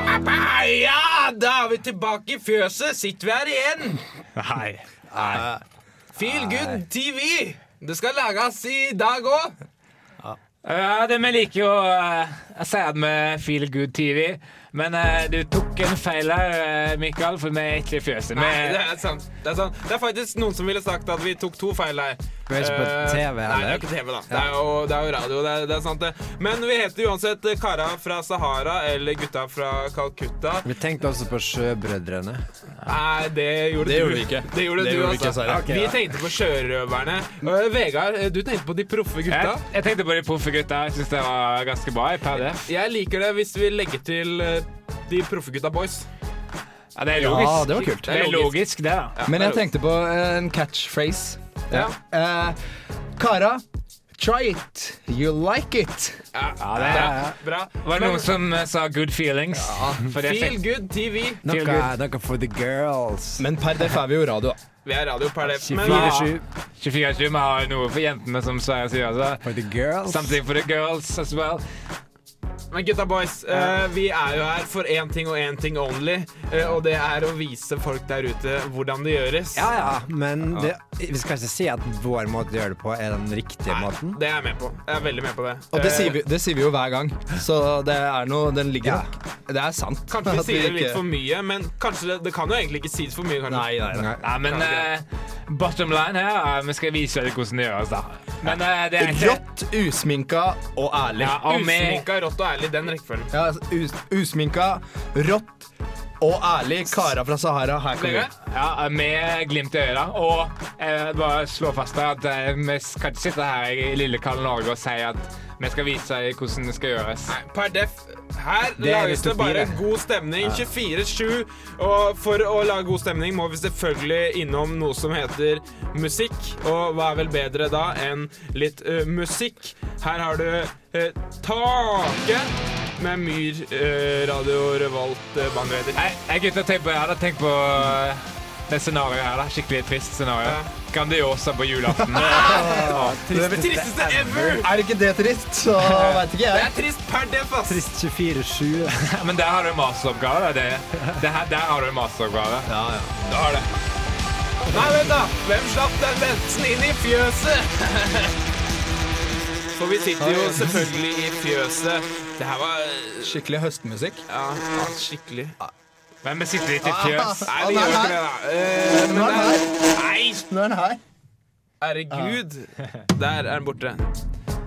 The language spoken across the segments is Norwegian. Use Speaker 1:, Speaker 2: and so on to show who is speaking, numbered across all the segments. Speaker 1: Ja, da er vi tilbake i fjøset. Sitter vi her igjen?
Speaker 2: Nei.
Speaker 1: Feel good TV. Det skal lages i dag òg.
Speaker 2: Ja, det, men jeg liker jo uh, sad med Feel Good TV. Men eh, du tok en feil her, eh, Mikael, for vi er ikke i fjøset. Vi,
Speaker 1: Nei, det er sant. Det er sant. Det er faktisk noen som ville sagt at vi tok to feil her.
Speaker 3: Vi er ikke på
Speaker 1: Eh,
Speaker 3: TV
Speaker 1: Nei,
Speaker 3: heller.
Speaker 1: det er jo ikke TV, da. Det er jo, det er jo radio. Det er, det er sant, det. Men vi heter uansett Kara fra Sahara eller Gutta fra Calcutta.
Speaker 3: Vi tenkte også på Sjøbrødrene.
Speaker 1: Nei, det
Speaker 4: Det
Speaker 1: gjorde du.
Speaker 4: gjorde vi ikke.
Speaker 1: Det gjorde
Speaker 4: Det
Speaker 1: du,
Speaker 4: gjorde vi
Speaker 1: altså.
Speaker 4: ikke, Sara.
Speaker 3: Ok,
Speaker 1: vi
Speaker 3: ja.
Speaker 1: tenkte på sjørøverne. Eh, Vegard, eh, du tenkte på de proffe gutta.
Speaker 2: jeg, jeg tenkte på de proffe gutta. Jeg syns det var ganske bra. Jeg per det.
Speaker 1: Jeg liker det hvis vi legger til eh, de proffe gutta boys.
Speaker 2: Ja, det er
Speaker 3: Ja,
Speaker 2: logisk.
Speaker 3: det var kult.
Speaker 2: Det er logisk, det, da.
Speaker 1: Ja,
Speaker 5: Men jeg
Speaker 1: det er
Speaker 5: tenkte på eh, en catchphrase.
Speaker 1: Ja.
Speaker 5: Eh, Kara, try it. You like it.
Speaker 1: Ja,
Speaker 2: Ja, det
Speaker 1: bra.
Speaker 2: er,
Speaker 1: bra.
Speaker 2: var det noen som eh, sa 'good feelings'? For det
Speaker 1: Feel
Speaker 2: fikk
Speaker 1: good TV.
Speaker 2: Feel
Speaker 3: Noe,
Speaker 2: good.
Speaker 3: noe for the girls.
Speaker 5: Men per def er vi jo radio.
Speaker 1: Vi er radio per det. Men
Speaker 3: 24-7
Speaker 2: 24-7. Vi har jo noe for jentene, som Sverre sier. Altså.
Speaker 3: for the girls.
Speaker 2: Something for the girls as well.
Speaker 1: Men gutta boys, eh, vi er jo her for én ting og én ting only. eh, og det er å vise folk der ute hvordan det gjøres.
Speaker 3: Ja, ja, men det, vi skal ikke si at vår måte å gjøre det på er den riktige måten.
Speaker 1: Det er jeg med på. Jeg er veldig med på det.
Speaker 5: Og det
Speaker 1: Eh,
Speaker 5: sier, vi, det sier vi jo hver gang. Så det er noe Den ligger
Speaker 3: Ja.
Speaker 5: nok. Det er sant.
Speaker 1: Eh, Kanskje vi
Speaker 5: At
Speaker 1: sier det litt
Speaker 5: ikke-
Speaker 1: for mye, men kanskje det, det kan jo egentlig ikke sies for mye. kanskje.
Speaker 5: Nei, nei, nei.
Speaker 2: Nei, men eh, bottom line her er vi skal vise dere hvordan det gjøres, da. Men eh, det er ikke
Speaker 5: Rått, usminka og ærlig.
Speaker 2: ja, og vi-
Speaker 1: Usminka, rått og ærlig, den rekkefølgen.
Speaker 5: Ja, us usminka, rått og ærlig. Kara fra Sahara, her kommer
Speaker 1: Vegard?
Speaker 5: vi.
Speaker 2: Ja, med glimt i øynene. Og eh, bare slå fast her at eh, vi skal ikke sitte her i lille Karl Norge og si at vi skal vise deg hvordan det skal gjøres.
Speaker 1: Per def. Her
Speaker 3: er
Speaker 1: lages det
Speaker 3: dystopi,
Speaker 1: bare
Speaker 3: det.
Speaker 1: god stemning 24-7. Og for å lage god stemning må vi selvfølgelig innom noe som heter musikk. Og hva er vel bedre da enn litt eh, musikk? Her har du eh, Take med Myr eh, Radio Revolt uh, bandreder.
Speaker 2: Jeg, jeg, gutter, tenk på, jeg hadde tenkt på eh, det scenarioet her. da. Skikkelig trist scenario.
Speaker 1: Ja.
Speaker 2: Grandiosa på julaften.
Speaker 1: Det tristeste ever!
Speaker 5: Er det ikke det trist, så veit ikke
Speaker 1: Det
Speaker 5: jeg.
Speaker 1: er trist per def, ass!
Speaker 3: Trist 24-7.
Speaker 2: Men der har du en masteroppgave. da. Det, det her, der har du en masteroppgave.
Speaker 1: Du har det. Nei, vent da! Hvem slapp den Bentsen inn i fjøset? For vi sitter jo selvfølgelig i fjøset. Det her var
Speaker 5: Skikkelig høstmusikk.
Speaker 1: ja, skikkelig Nei,
Speaker 2: Men vi sitter ikke i fjøs.
Speaker 1: vi
Speaker 5: nei,
Speaker 1: gjør ikke
Speaker 5: nei.
Speaker 1: det, da. Eh,
Speaker 5: Nå er den her.
Speaker 1: Nei,
Speaker 5: Nå er den her.
Speaker 1: herregud. Der er den borte.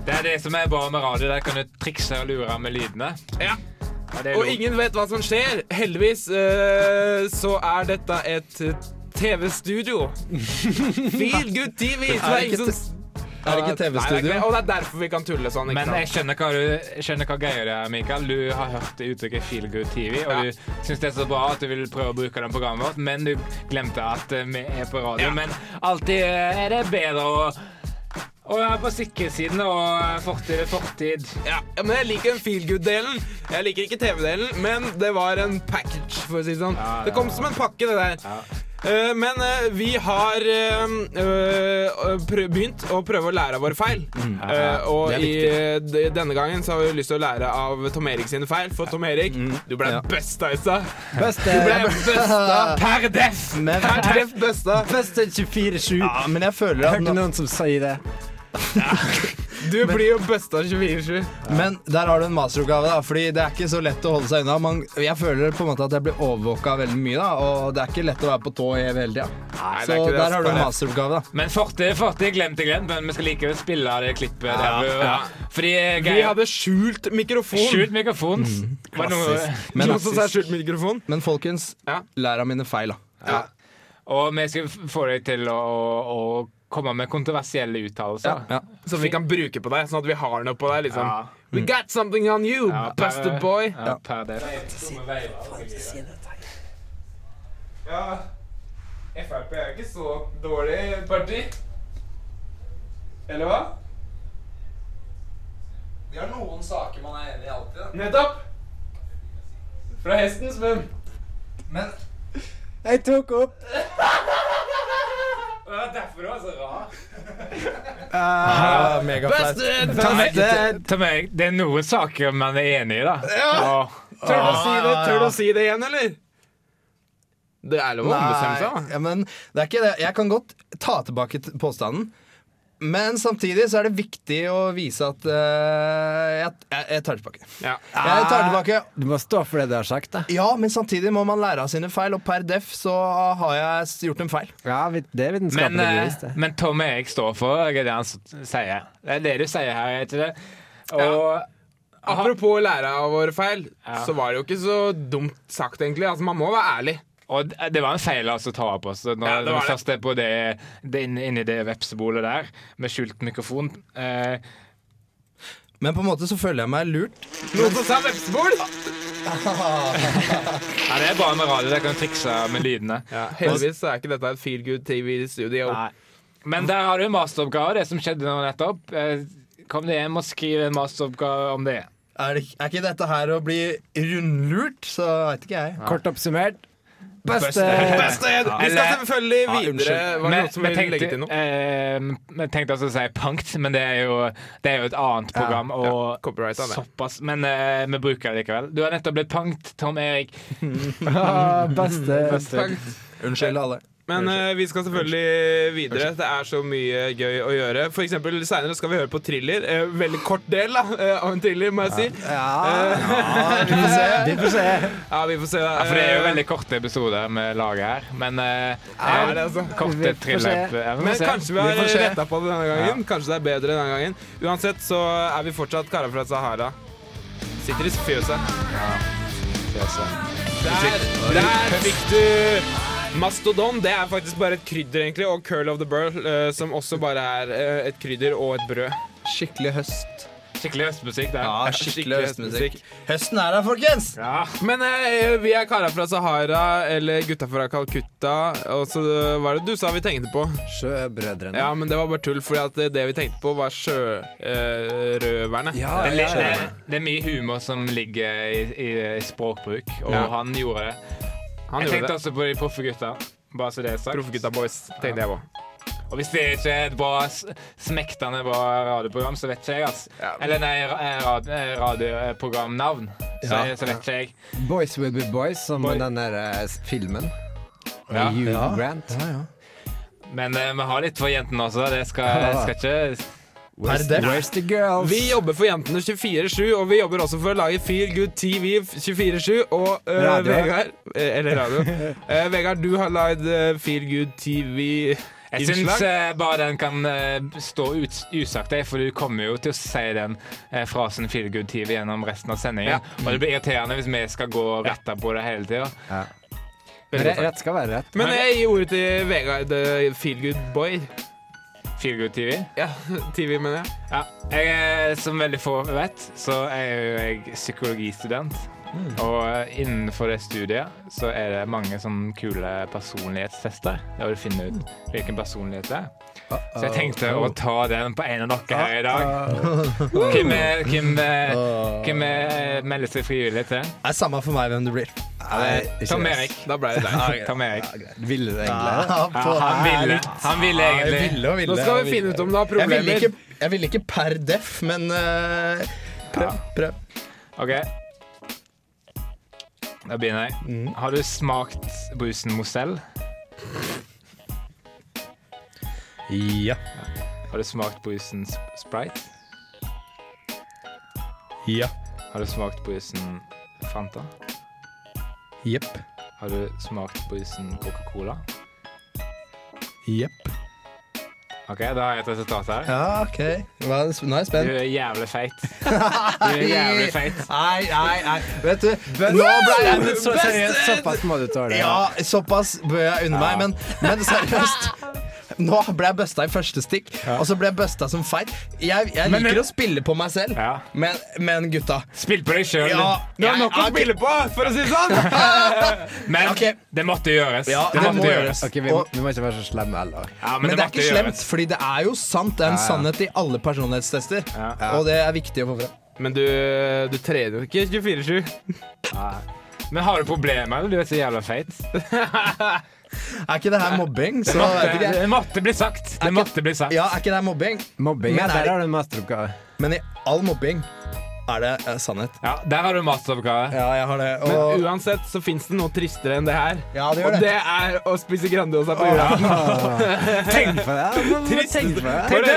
Speaker 2: Det er det som er bra med radio. Der kan du trikse og lure med lydene.
Speaker 1: Ja.
Speaker 2: Og det er
Speaker 1: Og
Speaker 2: lov.
Speaker 1: ingen vet hva som skjer. Heldigvis eh, så er dette et eh, TV-studio. Feel good TV. Så det er ingen som
Speaker 5: Er
Speaker 1: Nei,
Speaker 5: det ikke
Speaker 1: det er ikke
Speaker 5: TV-studio?
Speaker 1: det. Og det er derfor vi kan tulle sånn. Ikke
Speaker 2: Men jeg
Speaker 1: sant?
Speaker 2: skjønner hva, du, skjønner hva greier det er, Mikael. Du har hørt det uttrykket Feel Good TV, og
Speaker 1: Ja.
Speaker 2: du syns det er så bra at du vil prøve å bruke det i programmet vårt, men du glemte at eh, vi er på radio.
Speaker 1: Ja.
Speaker 2: Men alltid eh, er det bedre å å være på sikkerhetssiden og eh, fortid er fortid.
Speaker 1: Ja, ja, men jeg liker den feel good-delen. Jeg liker ikke TV-delen, men det var en package, for å si det sånn.
Speaker 2: Ja, ja,
Speaker 1: Det kom som en pakke, det der. Eh, men eh, vi har eh, eh, prø- begynt å prøve å lære av våre feil.
Speaker 2: Mm.
Speaker 1: Eh, og i, eh, d- denne gangen så har vi lyst til å lære av Tom Erik sine feil, for Tom Erik,
Speaker 2: Mm.
Speaker 1: du ble
Speaker 5: Ja.
Speaker 1: busta, Isa.
Speaker 3: Beste,
Speaker 1: Du ble busta per deff!
Speaker 3: Men-
Speaker 1: Per deff busta.
Speaker 3: beste 24-7.
Speaker 5: Ja, men jeg føler at
Speaker 3: Hørte noen som sier det.
Speaker 1: Du blir jo busta 24-7.
Speaker 5: Men der har du en masteroppgave, da. Fordi det er ikke så lett å holde seg unna. Man, jeg føler på en måte at jeg blir overvåka veldig mye, da. Og det er ikke lett å være på tå hev hele tida.
Speaker 1: Nei, det
Speaker 5: Så
Speaker 1: er ikke det,
Speaker 5: der har du en
Speaker 1: Skarre.
Speaker 5: masteroppgave, da.
Speaker 2: Men fortid er fortid, glemt er glemt, men vi skal likevel spille av det klippet. der du,
Speaker 1: ja.
Speaker 2: Fordi eh,
Speaker 1: Vi Mm,
Speaker 2: greier,
Speaker 1: hadde skjult mikrofon.
Speaker 2: Skjult mikrofon. Var noe,
Speaker 5: Men,
Speaker 1: Noen som sa skjult mikrofon?
Speaker 5: men folkens,
Speaker 1: Ja.
Speaker 5: lær av mine feil, da.
Speaker 1: Ja.
Speaker 2: og vi skal få deg til å, å, å komme med kontroversielle uttalelser.
Speaker 5: Ja.
Speaker 1: Som vi kan bruke på deg, sånn at vi har noe på deg. liksom
Speaker 2: Ja.
Speaker 1: We got something on you, bastard boy.
Speaker 2: Ja, per det.
Speaker 1: Frp er ikke så dårlig parti. Eller hva?
Speaker 5: Det er noen saker man er enig i alltid.
Speaker 1: Nettopp! Fra hestens munn.
Speaker 5: Men
Speaker 3: Jeg tok opp
Speaker 2: Det var derfor det var så rart.
Speaker 5: uh, Megaflaut.
Speaker 2: Ta meg, ta meg. Det er noen saker man er enig i, da.
Speaker 1: Tør du å si det, tør du å si det igjen, eller? Det er lov å ombestemme seg, da.
Speaker 5: ja, men det er ikke det. Jeg kan godt ta tilbake t- påstanden. Men samtidig så er det viktig å vise at eh, jeg, jeg, jeg tar tilbake.
Speaker 1: Ja.
Speaker 5: Jeg tar tilbake
Speaker 3: Du må stå for det du har sagt, da.
Speaker 5: Ja, men samtidig må man lære av sine feil, og per def så har jeg s- gjort en feil.
Speaker 3: Ja, vi- det er
Speaker 2: Men,
Speaker 3: vitenskapelig
Speaker 2: eh,
Speaker 3: bevist, det.
Speaker 2: men Tom og jeg står for det er det han s- sier. Det er det du sier her, heter det. Og
Speaker 1: Apropos lære av våre feil,
Speaker 2: Ja.
Speaker 1: så var det jo ikke så dumt sagt, egentlig. Altså, Man må være ærlig.
Speaker 2: Og d- det var en feil altså, å ta opp oss. Når
Speaker 1: Ja, det
Speaker 2: vi
Speaker 1: var det.
Speaker 2: først er på det, det inn- inni det vepsebolet der, med skjult mikrofon. Eh,
Speaker 5: Men på en måte så føler jeg meg lurt.
Speaker 1: Noen som sa vepsebol!
Speaker 2: ja, det er bare med radio, dere kan trikse med lydene.
Speaker 1: Ja, heldigvis så er ikke dette et feel good TV-studio.
Speaker 2: Nei. Men der har du en masteroppgave, det som skjedde nå nettopp. Eh, kom deg hjem og skriv en masteroppgave om det.
Speaker 5: Er, det, er ikke dette her å bli rundlurt, så veit ikke jeg.
Speaker 3: Kort oppsummert
Speaker 2: Beste.
Speaker 3: beste
Speaker 1: Beste! Vi skal
Speaker 2: Eller- Ah,
Speaker 1: selvfølgelig videre.
Speaker 5: unnskyld.
Speaker 1: Var det
Speaker 2: Men-
Speaker 1: noen som
Speaker 2: men
Speaker 1: ville legge til noe?
Speaker 2: eh, men tenkte altså å si punkt, men det er jo, det er jo et annet program.
Speaker 1: Ja,
Speaker 2: Og
Speaker 1: copyright av det.
Speaker 2: såpass, men eh, vi bruker det likevel. Du har nettopp blitt punkt, Tom Erik.
Speaker 3: Ah, Beste, beste.
Speaker 1: Takk.
Speaker 5: Unnskyld, alle.
Speaker 1: Men eh, vi skal selvfølgelig videre. Det er så mye gøy å gjøre. For eksempel seinere skal vi høre på thriller. Eh, veldig kort del da, eh, av en thriller, må jeg si.
Speaker 3: Ja,
Speaker 5: vi får se.
Speaker 3: Ah, vi får se.
Speaker 1: Ja, vi får se. eh,
Speaker 2: Ja, for det er jo veldig korte episoder med laget her, men eh,
Speaker 1: Ja,
Speaker 2: eh,
Speaker 1: det er så.
Speaker 2: korte
Speaker 3: Vi får
Speaker 2: thrilløp.
Speaker 3: se.
Speaker 2: Ja, vi får
Speaker 1: Men
Speaker 2: se.
Speaker 1: kanskje vi
Speaker 5: Vi
Speaker 1: har
Speaker 5: får se.
Speaker 1: retta på det denne gangen. Kanskje det er bedre denne gangen. Uansett så er vi fortsatt karer fra Sahara. Sitter i fjøset. Der, der fikk du Mastodon. Det er faktisk bare et krydder, egentlig. Og Curl of the Burl, eh, som også bare er eh, et krydder og et brød.
Speaker 5: Skikkelig høst.
Speaker 2: Skikkelig høstmusikk der.
Speaker 5: Ja,
Speaker 1: skikkelig
Speaker 5: skikkelig høstmusikk.
Speaker 1: høstmusikk.
Speaker 5: Høsten er her, folkens!
Speaker 2: Ja.
Speaker 1: Men eh, vi er karer fra Sahara, eller gutta fra Calcutta. Og så eh, hva er det du sa vi tenkte på?
Speaker 3: Sjøbrødrene.
Speaker 1: Ja, men det var bare tull, fordi at det- det vi tenkte på, var eh, sjørøverne.
Speaker 3: Ja,
Speaker 2: Det, er
Speaker 3: ja,
Speaker 2: litt-
Speaker 3: ja.
Speaker 2: det, det er mye humor som ligger i, i, i språkbruk, og
Speaker 1: Ja.
Speaker 2: han gjorde det.
Speaker 1: Han
Speaker 2: jeg
Speaker 1: gjorde
Speaker 2: tenkte
Speaker 1: det.
Speaker 2: også på de proffe gutta. Bare så det er sagt.
Speaker 1: Proffgutta boys, tenkte jeg på.
Speaker 2: Og hvis det ikke er et bra, s- smektende bra radioprogram, så vet ikke jeg, altså.
Speaker 1: Ja.
Speaker 2: Eller nei, eh, radioprogramnavn, så,
Speaker 5: Ja.
Speaker 2: så vet ikke jeg.
Speaker 3: Boys Will Be Boys, som
Speaker 2: Boy-
Speaker 3: den der eh, filmen.
Speaker 2: Ja.
Speaker 3: Hugh
Speaker 5: Ja.
Speaker 3: Grant.
Speaker 2: Men eh, vi har litt for jentene også, det skal, jeg skal ikke
Speaker 3: Where's,
Speaker 5: det-
Speaker 3: where's the girls?
Speaker 1: Vi jobber for jentene 24-7, og vi jobber også for å lage Feel Good TV 24-7. Og eh,
Speaker 3: Radio.
Speaker 1: Vegard eh, Eller radio. Eh, Vegard, du har lagd eh, Feel Good TV
Speaker 2: Jeg
Speaker 1: Innslag?
Speaker 2: syns eh, bare den kan eh, stå ut, usagt, jeg, for du kommer jo til å si den eh, frasen 'feel good TV' gjennom resten av sendingen.
Speaker 1: Ja.
Speaker 2: Og det blir irriterende hvis vi skal gå og rette på det hele tida.
Speaker 3: Ja. Men re- Rett skal være rett.
Speaker 1: Men jeg gir ordet til Vegard eh, Feel Good Boy.
Speaker 2: Feel good TV.
Speaker 1: Ja, TV, mener jeg.
Speaker 2: Ja. Jeg, er, som veldig få vet, så er jo jeg psykologistudent.
Speaker 5: Mm.
Speaker 2: Og eh, innenfor det studiet så er det mange sånne kule personlighetstester. Der du finner ut hvilken personlighet det er.
Speaker 5: Ah,
Speaker 2: Så jeg tenkte å
Speaker 5: oh.
Speaker 2: ta den på en av dere her i dag.
Speaker 5: ah.
Speaker 2: Hvem, er- hvem, er- hvem er- melder seg frivillig til?
Speaker 5: Det er samme for meg hvem du blir.
Speaker 3: Nei,
Speaker 2: Tom
Speaker 3: ikke
Speaker 2: Erik.
Speaker 1: Da ble det
Speaker 5: Ah,
Speaker 1: deg.
Speaker 2: Tom Erik.
Speaker 3: Ville det
Speaker 2: Ja,
Speaker 3: egentlig?
Speaker 2: han ville, han ville
Speaker 5: Ah, Jeg
Speaker 2: egentlig
Speaker 5: ville og ville.
Speaker 1: Nå skal
Speaker 5: og
Speaker 1: vi
Speaker 5: ville.
Speaker 1: finne ut om du har
Speaker 5: Jeg ville
Speaker 1: problemer.
Speaker 5: ikke, jeg ville ikke per def, men eh, prøv. prøv.
Speaker 2: OK. Da begynner
Speaker 5: Mm.
Speaker 2: jeg. Har du smakt brusen Mosell?
Speaker 5: Ja.
Speaker 2: Har du smakt brusen Sp- Sprite?
Speaker 5: Ja.
Speaker 2: Har du smakt brusen Fanta?
Speaker 5: Jepp.
Speaker 2: Har du smakt brusen Coca-Cola?
Speaker 5: Jepp.
Speaker 2: OK, da har jeg et resultat her.
Speaker 5: Ja, OK. Hva, nå er jeg
Speaker 2: Du
Speaker 5: spent.
Speaker 2: er jævlig feit. Du er jævlig feit.
Speaker 5: Nei, nei, nei. Vet du, nå ble
Speaker 3: Nei,
Speaker 5: jeg
Speaker 3: men så, seriøst, såpass må du tåle.
Speaker 5: Ja, såpass bør jeg unne meg, men, men seriøst. Nå ble jeg busta i første stikk, og så ble jeg busta som feit. Jeg, jeg
Speaker 2: Men-
Speaker 5: liker å spille på meg selv,
Speaker 2: Ja.
Speaker 5: men, men gutta
Speaker 2: Spill på deg sjøl.
Speaker 5: Ja,
Speaker 1: Du har
Speaker 5: jeg-
Speaker 1: nok å
Speaker 5: ok,
Speaker 1: spille på, for å si det sånn!
Speaker 2: Men
Speaker 5: Ok.
Speaker 2: det måtte gjøres.
Speaker 5: Ja,
Speaker 2: det,
Speaker 5: det
Speaker 2: måtte
Speaker 5: må
Speaker 2: gjøres.
Speaker 5: gjøres.
Speaker 3: Ok, vi,
Speaker 5: Og-
Speaker 3: vi må ikke være så slemme heller.
Speaker 2: Ja, men,
Speaker 5: Men det er
Speaker 2: måtte
Speaker 5: ikke
Speaker 2: gjøres.
Speaker 5: slemt, fordi det er jo sant. Det er en
Speaker 3: Ja, ja.
Speaker 5: sannhet i alle personlighetstester.
Speaker 2: Ja.
Speaker 5: Og det er viktig å få frem.
Speaker 1: Men du, du trener jo ikke 24-7.
Speaker 2: Men har du problemer, eller? Du er så jævla feit.
Speaker 5: Er ikke det her mobbing? Så vet ikke
Speaker 2: Det,
Speaker 5: jeg.
Speaker 2: det måtte bli sagt.
Speaker 5: Er
Speaker 2: Det
Speaker 5: ikke-
Speaker 2: måtte bli sagt.
Speaker 5: Ja, er ikke det her mobbing?
Speaker 3: Mobbing.
Speaker 5: Men
Speaker 3: Ja,
Speaker 5: er-
Speaker 3: der har du en masteroppgave.
Speaker 5: Men i all mobbing er det eh, sannhet.
Speaker 2: Ja, der har du masteroppgave.
Speaker 5: Ja, jeg har det.
Speaker 1: Men
Speaker 5: Og
Speaker 1: uansett så fins det noe tristere enn det her.
Speaker 5: Ja, det gjør
Speaker 1: og
Speaker 5: det.
Speaker 1: det er å spise Grandiosa på julaften.
Speaker 3: Tenk på det! ja, men- men Tenk på det.
Speaker 2: For Du,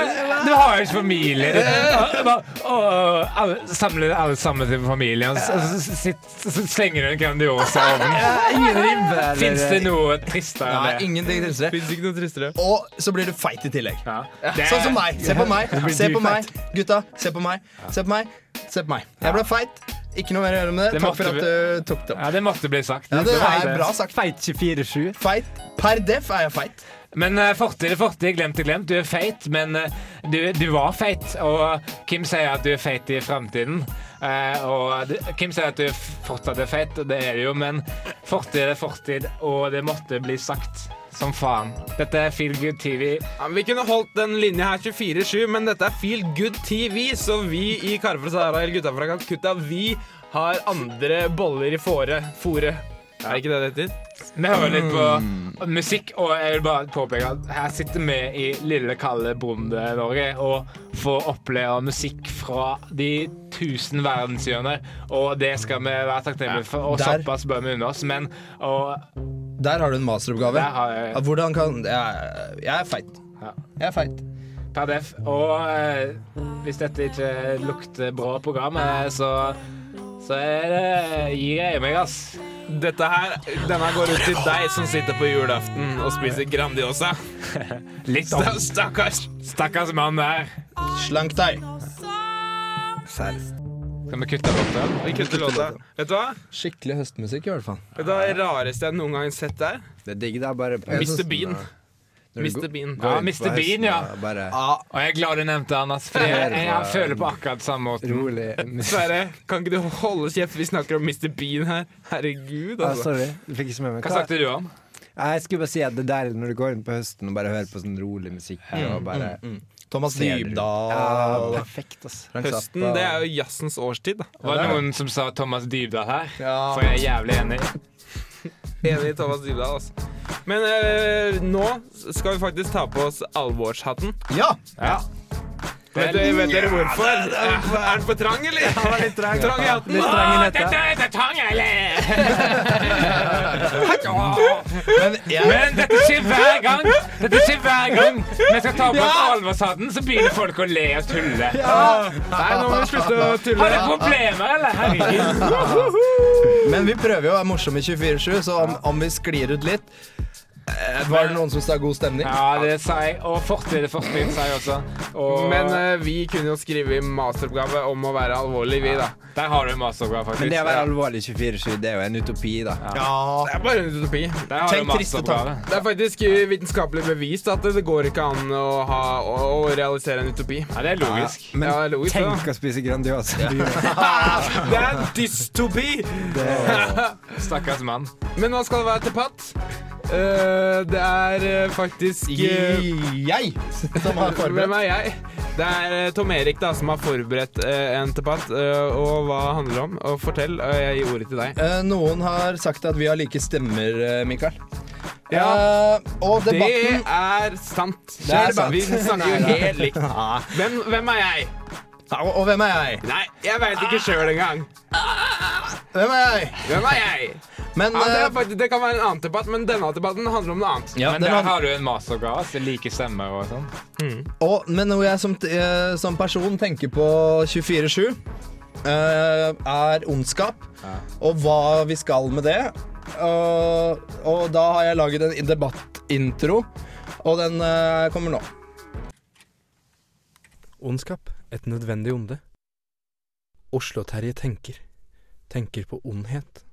Speaker 2: du har jo ikke familie. Du, og, og, alle, samler alle sammen til familien, og så, så, så, sitt- så slenger du en Grandiosa over
Speaker 3: Ja, Ingen ribbe eller-
Speaker 2: Fins det noe tristere
Speaker 5: Nei,
Speaker 2: enn det?
Speaker 5: ingenting tristere.
Speaker 1: Fins ikke noe tristere.
Speaker 5: Og så blir du feit i tillegg.
Speaker 2: Ja.
Speaker 5: Sånn som meg. Se på meg.
Speaker 3: blir
Speaker 5: Se på
Speaker 3: du
Speaker 5: meg. Gutta, se på meg. Se på meg. Se på meg. Jeg ble feit. Ikke noe mer å gjøre med det.
Speaker 2: Det
Speaker 5: Takk for
Speaker 2: måtte
Speaker 5: at
Speaker 2: vi-
Speaker 5: du tok det opp.
Speaker 2: Ja, det måtte bli sagt.
Speaker 5: Ja, det er
Speaker 2: Feit.
Speaker 5: bra sagt.
Speaker 3: Feit 24-7.
Speaker 5: Feit. Per def er jeg feit.
Speaker 2: Men eh, fortid er fortid, glemt er glemt. Du er feit, men eh, du, du var feit. Og Kim sier at du er feit i framtiden. Eh, og du, Kim sier at du f- fortsatt er feit, og det er du jo, men fortid er fortid, og det måtte bli sagt. Som faen. Dette er Feel Good TV.
Speaker 1: Ja, men vi kunne holdt den linja her 24-7, men dette er Feel Good TV, så vi i Karve fra Sahara eller Gutta fra Calcutta, vi har andre boller i fore. fore. Er det ikke det det heter?
Speaker 2: Vi hører litt på musikk, og jeg vil bare påpeke at her sitter vi i lille, kalde Bonde-Norge og får oppleve musikk fra de tusen verdenshjørner, og det skal vi være takknemlige for, og
Speaker 5: Der.
Speaker 2: såpass bør vi unne oss, men og,
Speaker 5: Der har du en masteroppgave.
Speaker 2: Der har jeg-
Speaker 5: Ja, Hvordan kan Jeg, jeg er feit.
Speaker 2: Ja.
Speaker 5: Jeg er feit.
Speaker 2: per def. Og eh, hvis dette ikke lukter bra program, eh, så så er det, gir jeg meg, ass.
Speaker 1: Dette her, denne går ut til deg som sitter på julaften og spiser Grandiosa.
Speaker 2: Litt
Speaker 1: Da, stakkars!
Speaker 2: Stakkars mann der.
Speaker 5: Slank deg.
Speaker 3: Serr.
Speaker 2: Skal vi kutte bort den?
Speaker 1: Vi kutter låta. Vet du hva?
Speaker 5: Skikkelig høstmusikk, i hvert fall.
Speaker 1: Vet du hva det rareste jeg noen gang har sett der?
Speaker 3: Det er digg, det er bare på
Speaker 1: Mr. Bean.
Speaker 5: Når du
Speaker 1: Mr.
Speaker 5: går-
Speaker 1: Bean.
Speaker 2: Ja, Mr. Bean, ja.
Speaker 3: Bare
Speaker 5: Ja,
Speaker 2: Og jeg er glad du nevnte han, ass, for jeg, jeg, jeg føler på akkurat samme måten.
Speaker 3: rolig.
Speaker 1: Sverre, kan ikke du holde kjeft? Vi snakker om Mr. Bean her. Herregud,
Speaker 3: Ah,
Speaker 1: altså.
Speaker 3: sorry, du fikk ikke med meg.
Speaker 2: Hva snakket du om?
Speaker 3: Nei, Jeg skulle bare si at det der når du går inn på høsten og bare hører på sånn rolig musikk og bare
Speaker 5: Mm, Thomas
Speaker 3: ser det ut.
Speaker 5: Dybdahl.
Speaker 3: Ja, perfekt, ass.
Speaker 5: Frank
Speaker 1: Høsten,
Speaker 5: Zappa.
Speaker 1: det er jo jazzens årstid, da.
Speaker 2: Var det noen som sa Thomas Dybdahl her?
Speaker 5: Ja.
Speaker 2: For jeg er jævlig enig.
Speaker 1: Enig i Thomas Dybdahl, altså. Men eh, nå skal vi faktisk ta på oss alvorshatten.
Speaker 5: Ja!
Speaker 2: Ja.
Speaker 1: Vet, dere- vet dere hvorfor? Eh, Er den for trang, eller? Han var litt trang. trang i hatten.
Speaker 3: Litt trang i netta.
Speaker 2: er for trang, eller?
Speaker 5: Men jeg,
Speaker 2: Men dette skjer hver gang. Dette skjer hver gang vi skal ta på oss alvorshatten, så begynner folk å le og tulle.
Speaker 1: Nei, nå må vi slutte å
Speaker 2: Har
Speaker 1: tulle.
Speaker 2: dere problemer, eller? Herregud.
Speaker 5: men vi prøver jo å være morsomme i 24-7, så om, om vi sklir ut litt eh, Var det noen som sa god stemning?
Speaker 2: Ja, det sa jeg. Og fortid er fortid, sa jeg også. Og
Speaker 1: Men eh, vi kunne jo skrive i masteroppgave om å være alvorlig, vi, da.
Speaker 2: der har du en masteroppgave, faktisk.
Speaker 3: Men det å være alvorlig 24-7, det er jo en utopi, da.
Speaker 5: Ja.
Speaker 1: Det er bare en utopi.
Speaker 2: Der har du
Speaker 5: Tenk triste
Speaker 2: masteroppgave.
Speaker 1: Det er faktisk eh, vitenskapelig bevist at det går ikke an å, ha, å, å realisere en utopi.
Speaker 2: Ja, det er logisk.
Speaker 3: Men
Speaker 1: Ja, logisk,
Speaker 3: tenk å spise Grandiosa.
Speaker 1: Det er en dystopi!
Speaker 2: Stakkars mann.
Speaker 1: Men nå skal det være til patt. Eh, det er eh, faktisk eh,
Speaker 5: Jeg som har
Speaker 1: Hvem
Speaker 5: forberedt.
Speaker 1: er jeg? Det er eh, Tom Erik da, som har forberedt eh, en til patt. eh, og hva handler det om? Og fortell. og jeg gir ordet til deg.
Speaker 5: Eh, Noen har sagt at vi har like stemmer, eh, Mikael. Eh, og
Speaker 1: Det
Speaker 5: debatten
Speaker 1: er sant.
Speaker 5: Det er sant.
Speaker 1: Vi snakker jo helt likt. Hvem, hvem er jeg?
Speaker 5: Ja, og, og hvem er jeg?
Speaker 1: Nei, jeg veit
Speaker 5: Ah.
Speaker 1: ikke sjøl engang.
Speaker 5: Hvem er jeg?
Speaker 1: Hvem er jeg?
Speaker 5: Men
Speaker 1: Ja, det,
Speaker 5: eh,
Speaker 1: er faktisk, det kan være en annen debatt, men denne debatten handler om noe annet.
Speaker 5: ja,
Speaker 2: Men
Speaker 5: den
Speaker 2: der
Speaker 5: har,
Speaker 2: har du en masteroppgave. altså, Like stemmer og sånn.
Speaker 5: og, men noe jeg som, t- eh, som person tenker på 24-7, eh, er ondskap.
Speaker 2: Ja.
Speaker 5: Og hva vi skal med det. Eh, og da har jeg laget en debattintro, og den eh, kommer nå.
Speaker 4: Ondskap, et nødvendig onde. Oslo-Terje tenker. Tenker på ondhet.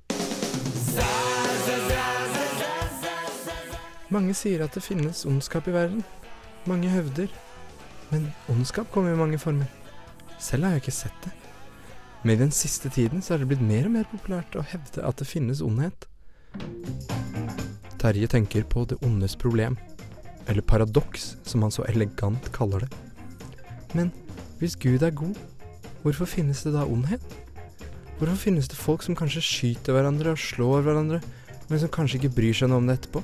Speaker 4: Mange sier at det finnes ondskap i verden. Mange høvder. Men ondskap kommer i mange former. Selv har jeg ikke sett det. Men i den siste tiden så er det blitt mer og mer populært å hevde at det finnes ondhet. Terje tenker på det ondes problem, eller paradoks, som han så elegant kaller det. Hvis Gud er god, hvorfor finnes det da ondhet? Hvorfor finnes det folk som kanskje skyter hverandre og slår hverandre, men som kanskje ikke bryr seg noe om det etterpå?